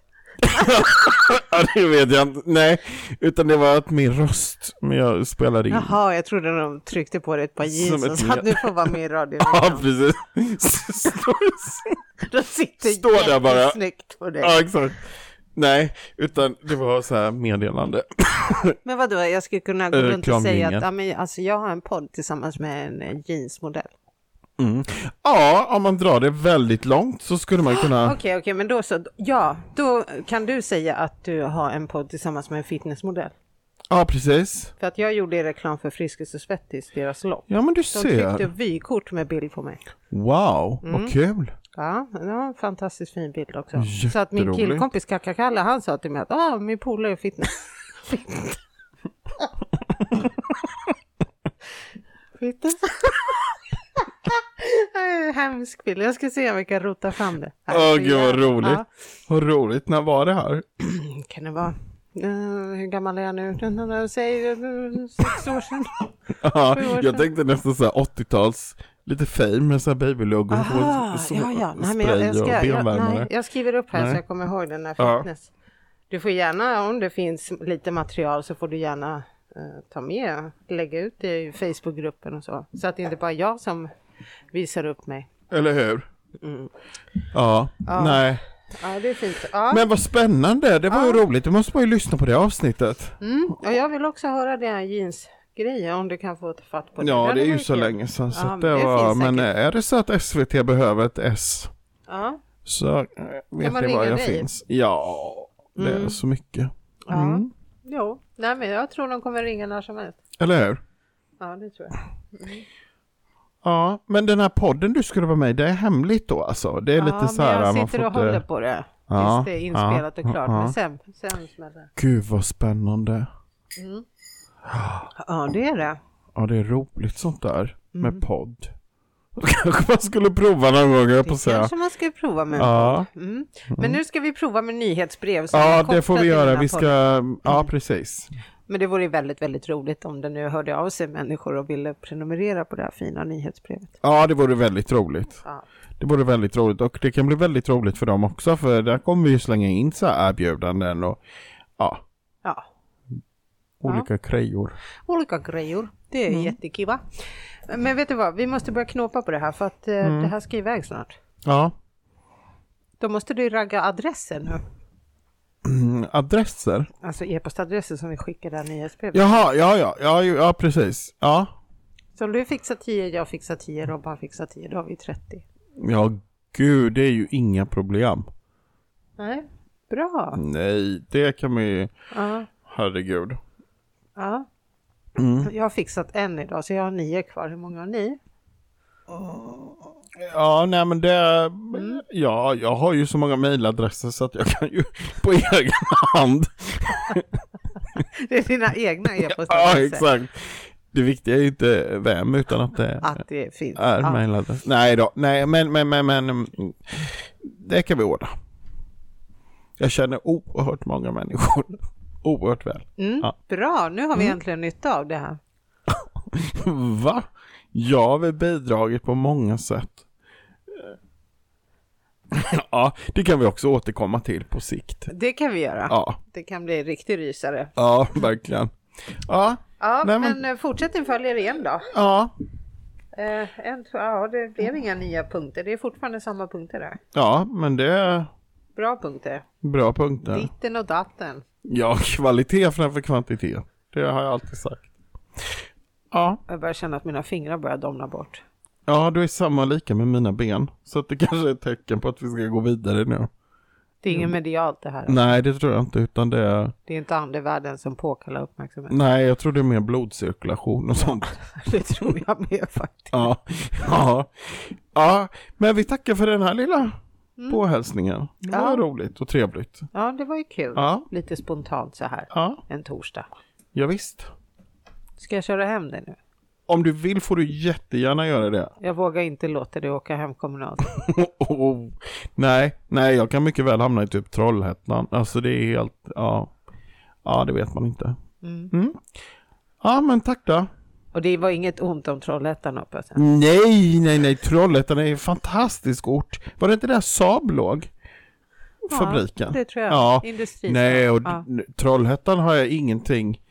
ja, det vet jag inte. Nej, utan det var att min röst, men jag spelade in.
Jaha, jag trodde de tryckte på det ett par jeans
Som ett
och sa att du får vara med i radion.
Ja, precis. Står-
De sitter
Står där bara.
jättesnyggt på dig.
Ja, exakt. Nej, utan det var så här meddelande.
Men vadå, jag skulle kunna gå runt och säga
Reklamjingeln.
att ja, men, alltså, jag har en podd tillsammans med en eh, jeansmodell.
Ja, om man drar det väldigt långt så skulle man kunna...
Ah, Okej, okej, men då så. Ja, då kan du säga att du har en podd tillsammans med en fitnessmodell.
Ja, precis.
För att jag gjorde reklam för Friskis och Svettis, deras lopp.
Ja, men du
De tryckte
ser.
vykort med bild på mig.
Wow,
Mm.
vad kul.
Ja, det var en fantastiskt fin bild också. Så att min
Jätteroligt.
killkompis Kakakalle, han sa till mig att ah, min polare är fitness. fitness. Nej, Hemsk bild. Jag ska se om vi kan rota fram det.
Åh, gud vad roligt.
Ja,
Vad roligt. När var det här?
kan det vara. Eh, hur gammal är jag nu? Säg eh, sex år sedan.
Ja,
Sju år sedan.
jag tänkte nästan så här 80-tals, lite fame med så här babylogo
Aha,
och så-
ja, ja. Nej, men jag,
spray
jag,
och
ska, jag,
benvärmare.
nej, jag skriver upp här
Nej.
så jag kommer ihåg den här
Ja.
fitness. Du får gärna, om det finns lite material så får du gärna eh, ta med, lägga ut det i Facebookgruppen och så. Så att det inte bara är jag som visar upp mig.
Eller hur?
Mm.
Ja, nej.
Ja, det är fint. Ja,
Men vad spännande, det var ju roligt. Då måste man ju lyssna på det avsnittet.
mm. Och jag vill också höra det här jeansgrejen om du kan få ta fatt på det.
Ja,
hade
det är ju
varit
så
kul.
länge sedan så
Ja,
att det,
det
var,
finns
men eh,
säkert.
är det så att SVT behöver ett S
Ja,
så eh, vet
man
ni var jag
ringa dig? Mm.
finns. Ja, det är så mycket.
ja.
Mm.
Jo, nej men jag tror de kommer ringa när som helst.
Eller hur?
Ja, det tror jag.
Ja, men den här podden du skulle vara med i, det är hemligt då alltså? Det är lite så här,
men jag
man
sitter
får
och
inte-
håller på det.
Ja,
tills det är inspelat
ja,
och klart.
ja.
Men sen, sen smäller det.
Gud vad spännande.
Ja, det är det.
Ja, det är roligt sånt där
Mm.
med podd. Kanske man skulle prova någon gång, höll jag på att
Det
säga.
kanske man ska prova med.
Ja,
Mm. Men nu ska vi prova med nyhetsbrev. som är
ja det
kopplat
får vi
till den
göra.
här
Vi ska,
podden. Mm.
ja precis.
Men det vore ju väldigt, väldigt roligt om det nu hörde av sig människor och ville prenumerera på det här fina nyhetsbrevet.
Ja, det vore väldigt roligt.
Ja.
Det vore väldigt roligt och det kan bli väldigt roligt för dem också för där kommer vi ju slänga in så här erbjudanden och ja,
ja.
olika krejor.
Olika grejer. Det är
Mm.
jättekul va? Men vet du vad, vi måste börja knåpa på det här för att eh,
Mm.
det här ska iväg snart.
Ja,
Då måste du ragga adresser nu.
mm, adresser.
Alltså e-postadresser som vi skickar det här nyhetsbrevet.
Jaha, ja, ja, ja, ju- ja precis. Ja,
Så om du fixar 10, jag fixar 10, Robban fixar 10, då har vi 30.
ja gud, det är ju inga problem.
Nej, bra.
Nej, det kan man ju,
Ja,
herregud.
ja.
Mm.
Jag har fixat en idag, så jag har nio kvar. Hur många har ni?
Ja, nej men det, ja, jag har ju så många mejladresser så att jag kan ju på egen hand.
Det är dina egna
Ja,
e-postadresser.
exakt. Det viktiga är ju inte vem utan att det
Att det finns.
är
Ja.
mejladress. Nej då, nej men, men, men, men, mm, det kan vi ordna. Jag känner oerhört många människor. Oerhört väl.
Mm,
Ja.
Bra, nu har vi äntligen nytta av det här. Mm.
Va? Jag har väl bidragit på många sätt. Ja, det kan vi också återkomma till på sikt.
Det kan vi göra.
Ja.
Det kan bli en riktig rysare.
Ja, verkligen. Ja,
Ja,
Nej, men-
men, eh, fortsättning följer igen då.
ja,
Eh, en, två, ja, det blev inga nya punkter. Det är fortfarande samma punkter där.
ja, men det är
Bra punkter.
bra punkter.
Ditten och datten.
Ja, kvalitet framför kvantitet. Det har jag alltid sagt. Ja,
Jag börjar känna att mina fingrar börjar domna bort.
ja, du är samma lika med mina ben. Så att det kanske är ett tecken på att vi ska gå vidare nu.
Det är inget
Mm.
medialt det här.
Nej, det tror jag inte, utan det är...
Det är inte andevärlden som påkallar uppmärksamhet.
Nej, jag tror det är mer blodcirkulation och sånt.
Det tror jag med faktiskt.
Ja, ja, ja, men vi tackar för den här lilla Mm. påhälsningen. Det var
Ja.
roligt och trevligt.
Ja, det var ju kul.
Ja.
Lite spontant så här
Ja,
en torsdag.
ja visst.
Ska jag köra hem dig nu?
Om du vill får du jättegärna göra det.
Jag vågar inte låta dig åka hem kommunalt.
Oh, oh. Nej, nej, jag kan mycket väl hamna i typ Trollhättan. Alltså det är helt, ja. Ja, det vet man inte. Mm. Ja, men tack då.
Och det var inget ont om Trollhättan hoppas jag.
Nej, nej, nej, Trollhättan är en fantastisk ort. Var det inte där Saab låg? Fabriken.
Det tror jag.
Ja.
Industrin.
Nej, och
ja.
n- Trollhättan har jag ingenting.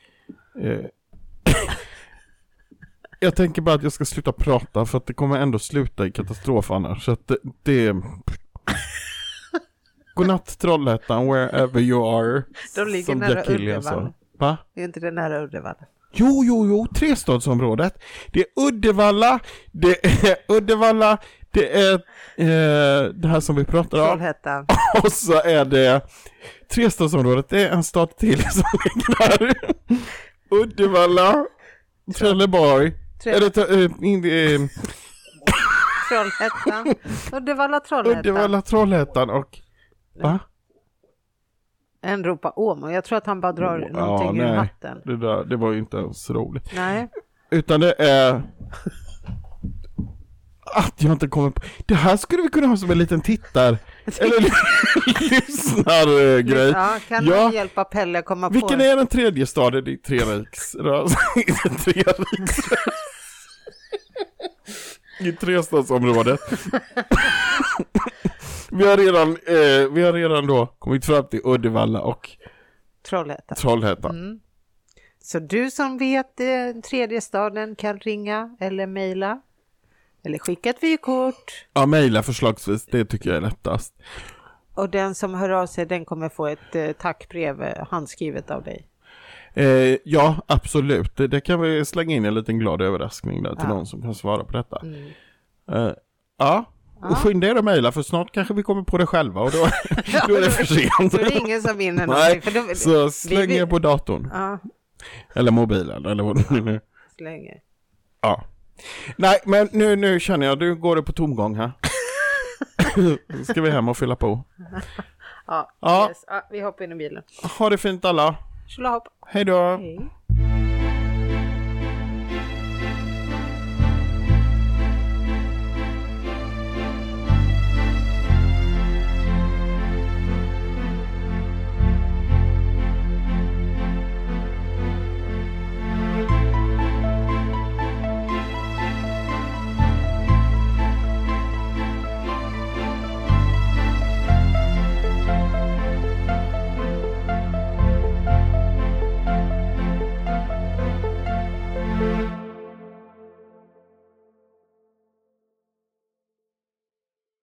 Eh. jag tänker bara att jag ska sluta prata för att det kommer ändå sluta i katastrof annars. Så att det... det... Godnatt Trollhättan, wherever you are.
De ligger
som
nära
Jack Hillian sa.
Uddevalla.
Va?
Det är inte det nära Uddevalla.
Jo, jo, jo, trestadsområdet. Det är Uddevalla, det är Uddevalla, det är eh, det här som vi pratar om.
Trollhättan.
Och så är det trestadsområdet, det är en stad till som ligger där. Uddevalla, Trelleborg,
Tre-
eller Tre- eh, in- eh,
Trollhättan. Uddevalla, Trollhättan.
Uddevalla, Trollhättan och... Va?
En ropar Åmo. Jag tror att han bara drar
Ja,
någonting ur
nej.
hatten.
Det, där, det var ju inte ens roligt.
Nej.
Utan det är... Att jag inte kommer på... Det här skulle vi kunna ha som en liten tittar... Eller lyssnargrej.
Ja, kan
Ja.
han hjälpa Pelle komma på
Vilken
det?
är den tredje staden i Tre riks... I Tre riks... I trestadsområdet. vi, har redan, eh, vi har redan då kommit fram till Uddevalla och
Trollhättan.
Trollhättan.
Mm. Så du som vet eh, tredje staden kan ringa eller mejla. Eller skicka ett vykort.
Ja, mejla förslagsvis, det tycker jag är lättast.
Och den som hör av sig den kommer få ett eh, tackbrev eh, handskrivet av dig.
Eh, ja, absolut. Det, det kan vi slänga in en liten glad överraskning där till någon som kan svara på detta.
Mm.
Eh, ja, och skynda er att mejla för snart kanske vi kommer på det själva och då, då är det för sent.
Så det är ingen som vinner
Nej,
någonting. För då,
så
vi-
släng
vi-
er på datorn.
Ja,
Eller mobilen eller vad det nu är.
slänger.
Ja. Nej, men nu, nu känner jag, nu går det på tomgång här. Nu ska vi hem och fylla på.
Ja,
Ja.
Yes. ja, vi hoppar in i bilen.
Ha det fint alla.
Tjolahopp!
Hej då.
Hej.